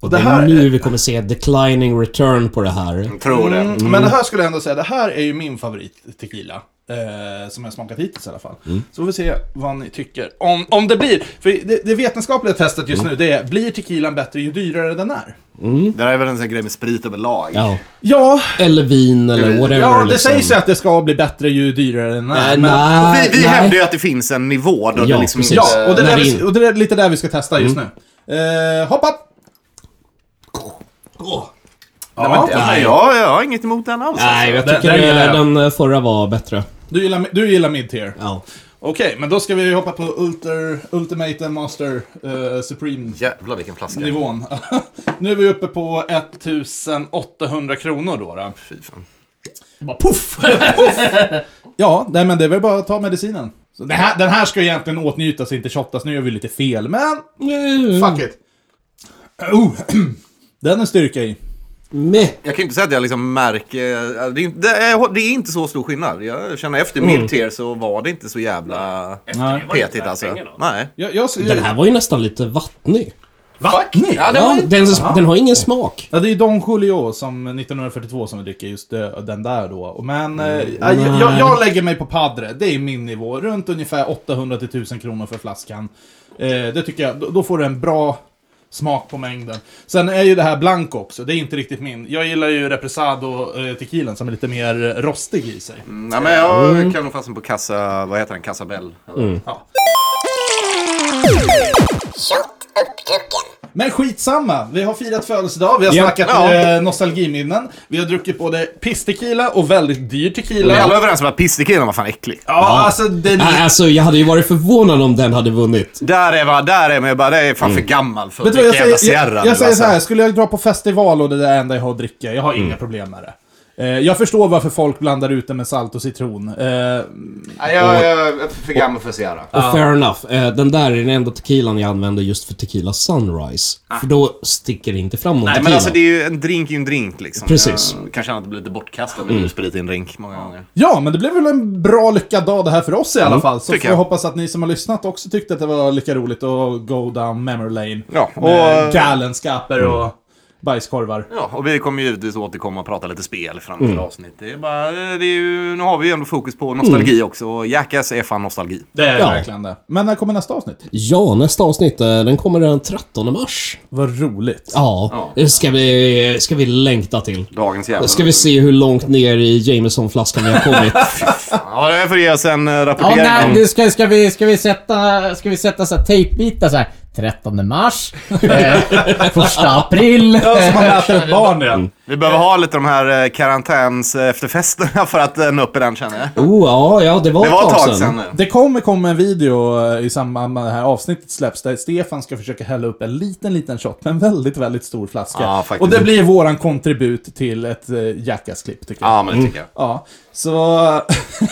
E: Och
A: Det
E: det
A: här
E: är
A: är-
E: nu vi kommer se declining return på det här.
C: Jag tror det.
B: Mm. Men det här skulle jag ändå säga, det här är ju min favorit tequila. Eh, som jag smakat hittills i alla fall.
E: Mm.
B: Så får vi se vad ni tycker. Om, om det blir, för det, det vetenskapliga testet
E: Mm.
B: just nu det är, blir tequilan bättre ju dyrare den är?
C: Det där är väl en sån här grej med sprit överlag.
E: Ja.
B: Ja,
E: Eller vin eller whatever.
B: ja det
E: liksom.
B: sägs ju att det ska bli bättre ju dyrare den är.
E: Nej,
B: men-
E: nej,
C: Vi, vi
E: nej.
C: hävdar ju att det finns en nivå då det
E: Ja,
C: liksom
E: precis.
B: Ja, och det,
E: eh, När
B: där,
E: det Mm.
B: vi-
E: in-
B: och det är lite där vi ska testa just nu. Eh, hoppa!
C: Ja, men, ja, men jag, jag har inget emot den alls. alltså.
E: Nej, jag
B: Den-
E: tycker
B: den gillar jag.
E: den, den förra var bättre.
B: Du gillar, du gillar mid-tier.
E: Ja.
B: Okej, men då ska vi hoppa på Ulter, Ultimate and Master eh, Supreme-nivån.
C: Jävlar vilken flaska.
B: nu är vi uppe på 1800 kronor då. då.
C: Fy fan.
B: Ja, nej, men det är väl bara att ta medicinen. Så den, här, den här ska ju egentligen åtnjutas, inte shottas. Nu gör vi lite fel, men
E: Mm,
B: fuck it. Oh, den är styrka i.
E: Meh.
C: Jag kan ju inte säga att jag liksom märker... Det är, inte- det, är, det är inte så stor skillnad. Jag känner efter
B: Mm.
C: mid tier så var det inte så jävla petigt alltså. Nej.
B: Jag, jag,
E: Den här var ju nästan lite vattnig.
B: Vattnig?
C: Ja, det
E: Ja,
C: var...
E: den, den har ingen smak.
B: Ja, det är ju Don Julio som 1942 som dricker just eh, den där då. Och Men eh, ja, jag, jag, jag lägger mig på Padre, det är min nivå. Runt ungefär 800-1000 kronor för flaskan. Eh, det tycker jag, då, då får du en bra smak på mängden. Sen är ju det här Blanco också, det är inte riktigt min. Jag gillar ju Represado eh, tequilen som är lite mer rostig i sig.
C: Nej, men
B: Mm.
C: jag kan nog fastna på kassa... Vad heter den? Kassabell.
B: Men skitsamma, vi har firat födelsedag, vi har
E: Ja.
B: snackat
C: Ja.
B: eh, nostalgiminnen. Vi har druckit både pisstequila och väldigt dyr
C: Vi
B: tequila.
C: är alla
B: Ja,
C: överens om att pisstekilen var fan äcklig.
B: alltså den...
E: Nej, alltså jag hade ju varit förvånad om den hade vunnit.
C: Där är vad, där är man ju bara, det är fan för gammal för att
B: Mm. Vet du vad,
C: dricka
B: jag
C: jävla
B: säger,
C: Sierra.
B: jag,
C: nu,
B: jag säger
C: alltså. Mm.
B: så här, skulle jag dra på festival och det där enda jag har att dricka, jag har inga problem med det. Eh, Jag förstår varför folk blandar ut det med salt och citron. Eh,
C: Nej, jag, jag är för gammal för Sierra.
E: Och fair enough. Eh, Den där är den enda tequilan jag använder just för tequila sunrise. För då sticker det inte fram någon
C: Ah. Nej,
E: tequila.
C: men alltså det är ju en drink är ju en drink liksom.
E: Precis.
C: Jag kan känna att det blir lite bortkastat om mm. sprit i en drink många gånger.
B: Ja, men det blev väl en bra lyckad dag det här för oss i alla fall. Så
C: Mm, tycker
B: får jag
C: jag.
B: hoppas att ni som har lyssnat också tyckte att det var lika roligt att go down memory lane.
C: Ja,
B: Med
C: och- eh, Mm.
B: galenskaper och bajskorvar.
C: Ja, och vi kommer givetvis återkomma och prata lite spel fram till avsnitt. Det är bara, det är ju, nu har vi ju ändå fokus på nostalgi också. Och Jackass är fan nostalgi.
B: Det är
E: Ja.
B: verkligen det. Men när kommer nästa avsnitt?
E: Ja, nästa avsnitt, eh, den kommer den 13 mars.
B: Vad roligt.
E: Ja, det ska vi, ska vi längta till.
C: Dagens jävla...
E: Ska vi se hur långt ner i Jameson-flaskan vi har kommit.
C: Ja, det får ge oss en eh,
D: Ja,
C: rapportering.
D: nej,
C: om-
D: du ska, ska, vi, ska vi sätta, ska vi sätta så här tejpbitar så här 13 mars, eh, första april.
B: Ja, som man äter ett barn igen.
C: Vi behöver ha lite de här eh, karantäns eh, efterfesterna för att eh, nå upp i den känner jag.
E: Oh, ja, ja, det var,
C: Det var ett tag sedan nu.
B: Det kommer komma en video eh, i samband med det här avsnittet släpps där Stefan ska försöka hälla upp en liten, liten shot med en väldigt, väldigt stor flaska.
C: Ja, faktiskt.
B: och det blir våran kontribut till ett eh, Jackass-klipp, tycker jag.
C: Ja, men det tycker jag.
B: Ja, så...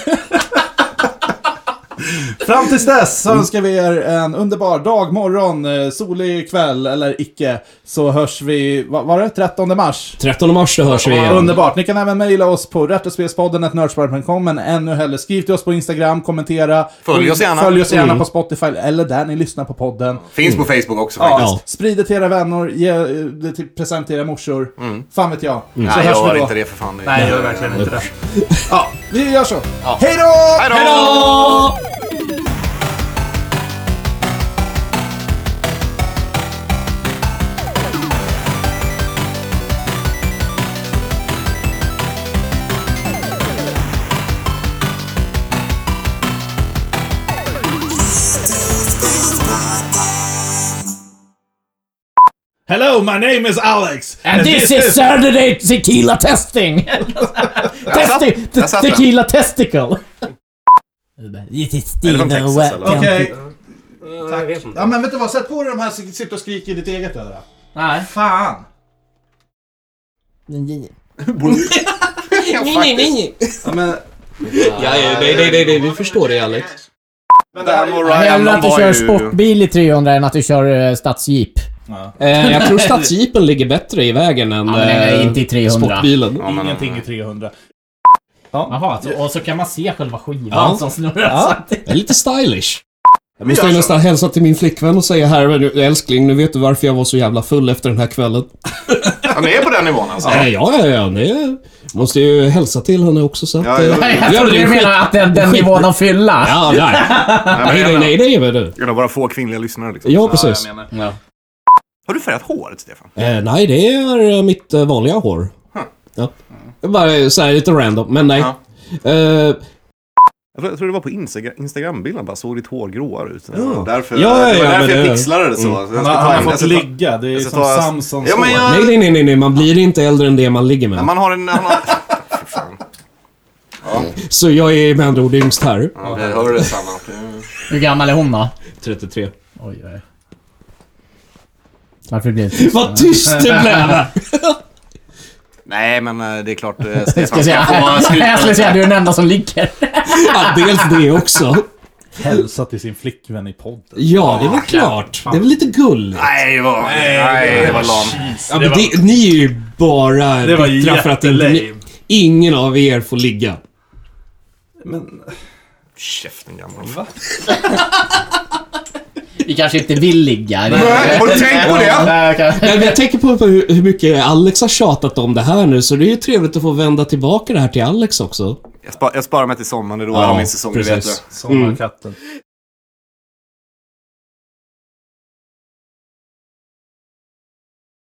B: Fram tills dess
C: Mm.
B: så önskar vi er en underbar dag, morgon, eh, solig kväll eller icke. Så hörs vi, vad var det? 13 mars?
E: 13 mars så hörs vi igen.
B: Underbart! Ni kan även mejla oss på rättospelspodden.nördspark.com men ännu hellre skriv till oss på Instagram, kommentera.
C: Följ oss gärna. Mm.
B: Följ oss gärna på Spotify eller där ni lyssnar på podden.
C: Finns på Facebook också
B: Ja,
C: faktiskt.
B: Sprid det till era vänner, ge eh, det till present till era morsor. Fan vet jag. Så
C: Mm. Nej,
B: hörs
C: jag
B: vi
C: gör
B: då.
C: inte det för fan. Det är-
A: Nej, jag gör verkligen inte det.
B: Ja, vi gör så.
C: Ja.
B: Hej då!
C: Hej då!
B: Hello, my name is Alex.
D: And this is Saturday tequila testing! testing
C: jag satt den.
D: tequila testicle! This is
C: Är det från
D: Steve
C: Texas,
D: Wacken.
C: eller?
B: Okej. Tack. Ja men vet du vad, sätt på dig de här så sitter och skriker i ditt eget öra.
D: Nej.
B: Fan!
C: Ja, faktiskt.
B: Ja, men,
E: Ja, ja, nej, nej, nej, nej, vi förstår det, Alex.
C: Damn och Ryan,
D: Hellre
C: de
D: att du
C: var
D: kör
C: ju...
D: sportbil i 300 än att du kör uh, stadsjeep.
E: Eh, jag tror stadsjeepen ligger bättre i vägen än
D: men nej,
E: eh,
D: inte i 300.
E: sportbilen.
C: Ja, men-
B: ingenting i 300.
D: Jaha, alltså, och så kan man se själva skivan
E: Ja.
D: som snurrar
E: Ja, det är lite stylish. Jag måste
A: gör
C: alltså-
A: så.
E: nästan hälsa till min flickvän och säga här, men älskling, nu vet du varför jag var så jävla full efter den här kvällen.
C: Han är på den nivån alltså.
E: Ja, ja, ja, ja nej. Måste ju hälsa till henne också så att...
C: Ja,
E: eh,
C: ja.
D: Jag
E: Ja,
D: trodde
E: det är
D: du
E: skit-
D: menade att den, den nivån att fylla.
E: Ja, nej.
C: men
E: Nej,
C: jag
E: nej, nej, nej, men du.
C: En av våra få kvinnliga lyssnare liksom.
E: Ja, precis.
A: jag menar.
C: Har du färgat håret, Stefan?
E: Eh, nej, det är eh, mitt eh, vanliga hår. Ja. Bara eh, så här lite random, men nej. Eh,
C: Jag tror- jag tror det var på Instagra- Instagram-bilden bara såg ditt hår gråare ut.
E: Ja.
C: Därför,
E: Ja, ja,
C: det var
E: ja,
C: därför
E: men
C: jag
E: det-
C: pixlade det så. så. jag
B: Han
C: ska
B: har,
C: ta-
B: han har
C: jag
B: fått
C: ska ta-
B: ligga. Det är
C: jag ska
B: som
C: ta-
B: Samsons
C: Ja, men
B: hår.
C: jag-
E: nej, nej, nej, nej, nej, man blir inte äldre än det man ligger med.
C: Man har en... Han har... Fy fan.
E: Så jag är med andra ord yngst här.
C: Ja, vi hör det samma.
D: Hur gammal är hon då?
E: 33.
D: Oj, oj. Varför blir det
E: Vad tyst det blev!
C: Nej, men eh, det är klart eh, Stefan
D: Ska jag
C: ska
D: säga?
C: få
D: Jag skulle säga du är den enda som ligger.
E: Ja, dels det också.
B: Hälsa till sin flickvän i podden.
E: Ja, det var klart. Det var lite gulligt.
C: Nej, det var... Nej, det var lam.
E: Ja, men det, ni är ju bara
A: Det var
E: bittra för att inte, ni,
A: jättelame.
E: ingen av er får ligga.
C: Käften gammal. Va?
D: Vi kanske inte vill ligga.
C: Har du tänkt på det?
D: Nej, jag kan-
E: Nej, men jag tänker på hur, hur mycket Alex har tjatat om det här nu, så det är ju trevligt att få vända tillbaka det här till Alex också.
C: Jag, spar, jag sparar mig till sommaren, det är då jag har min säsong, det vet du.
E: precis.
B: Sommarkatten.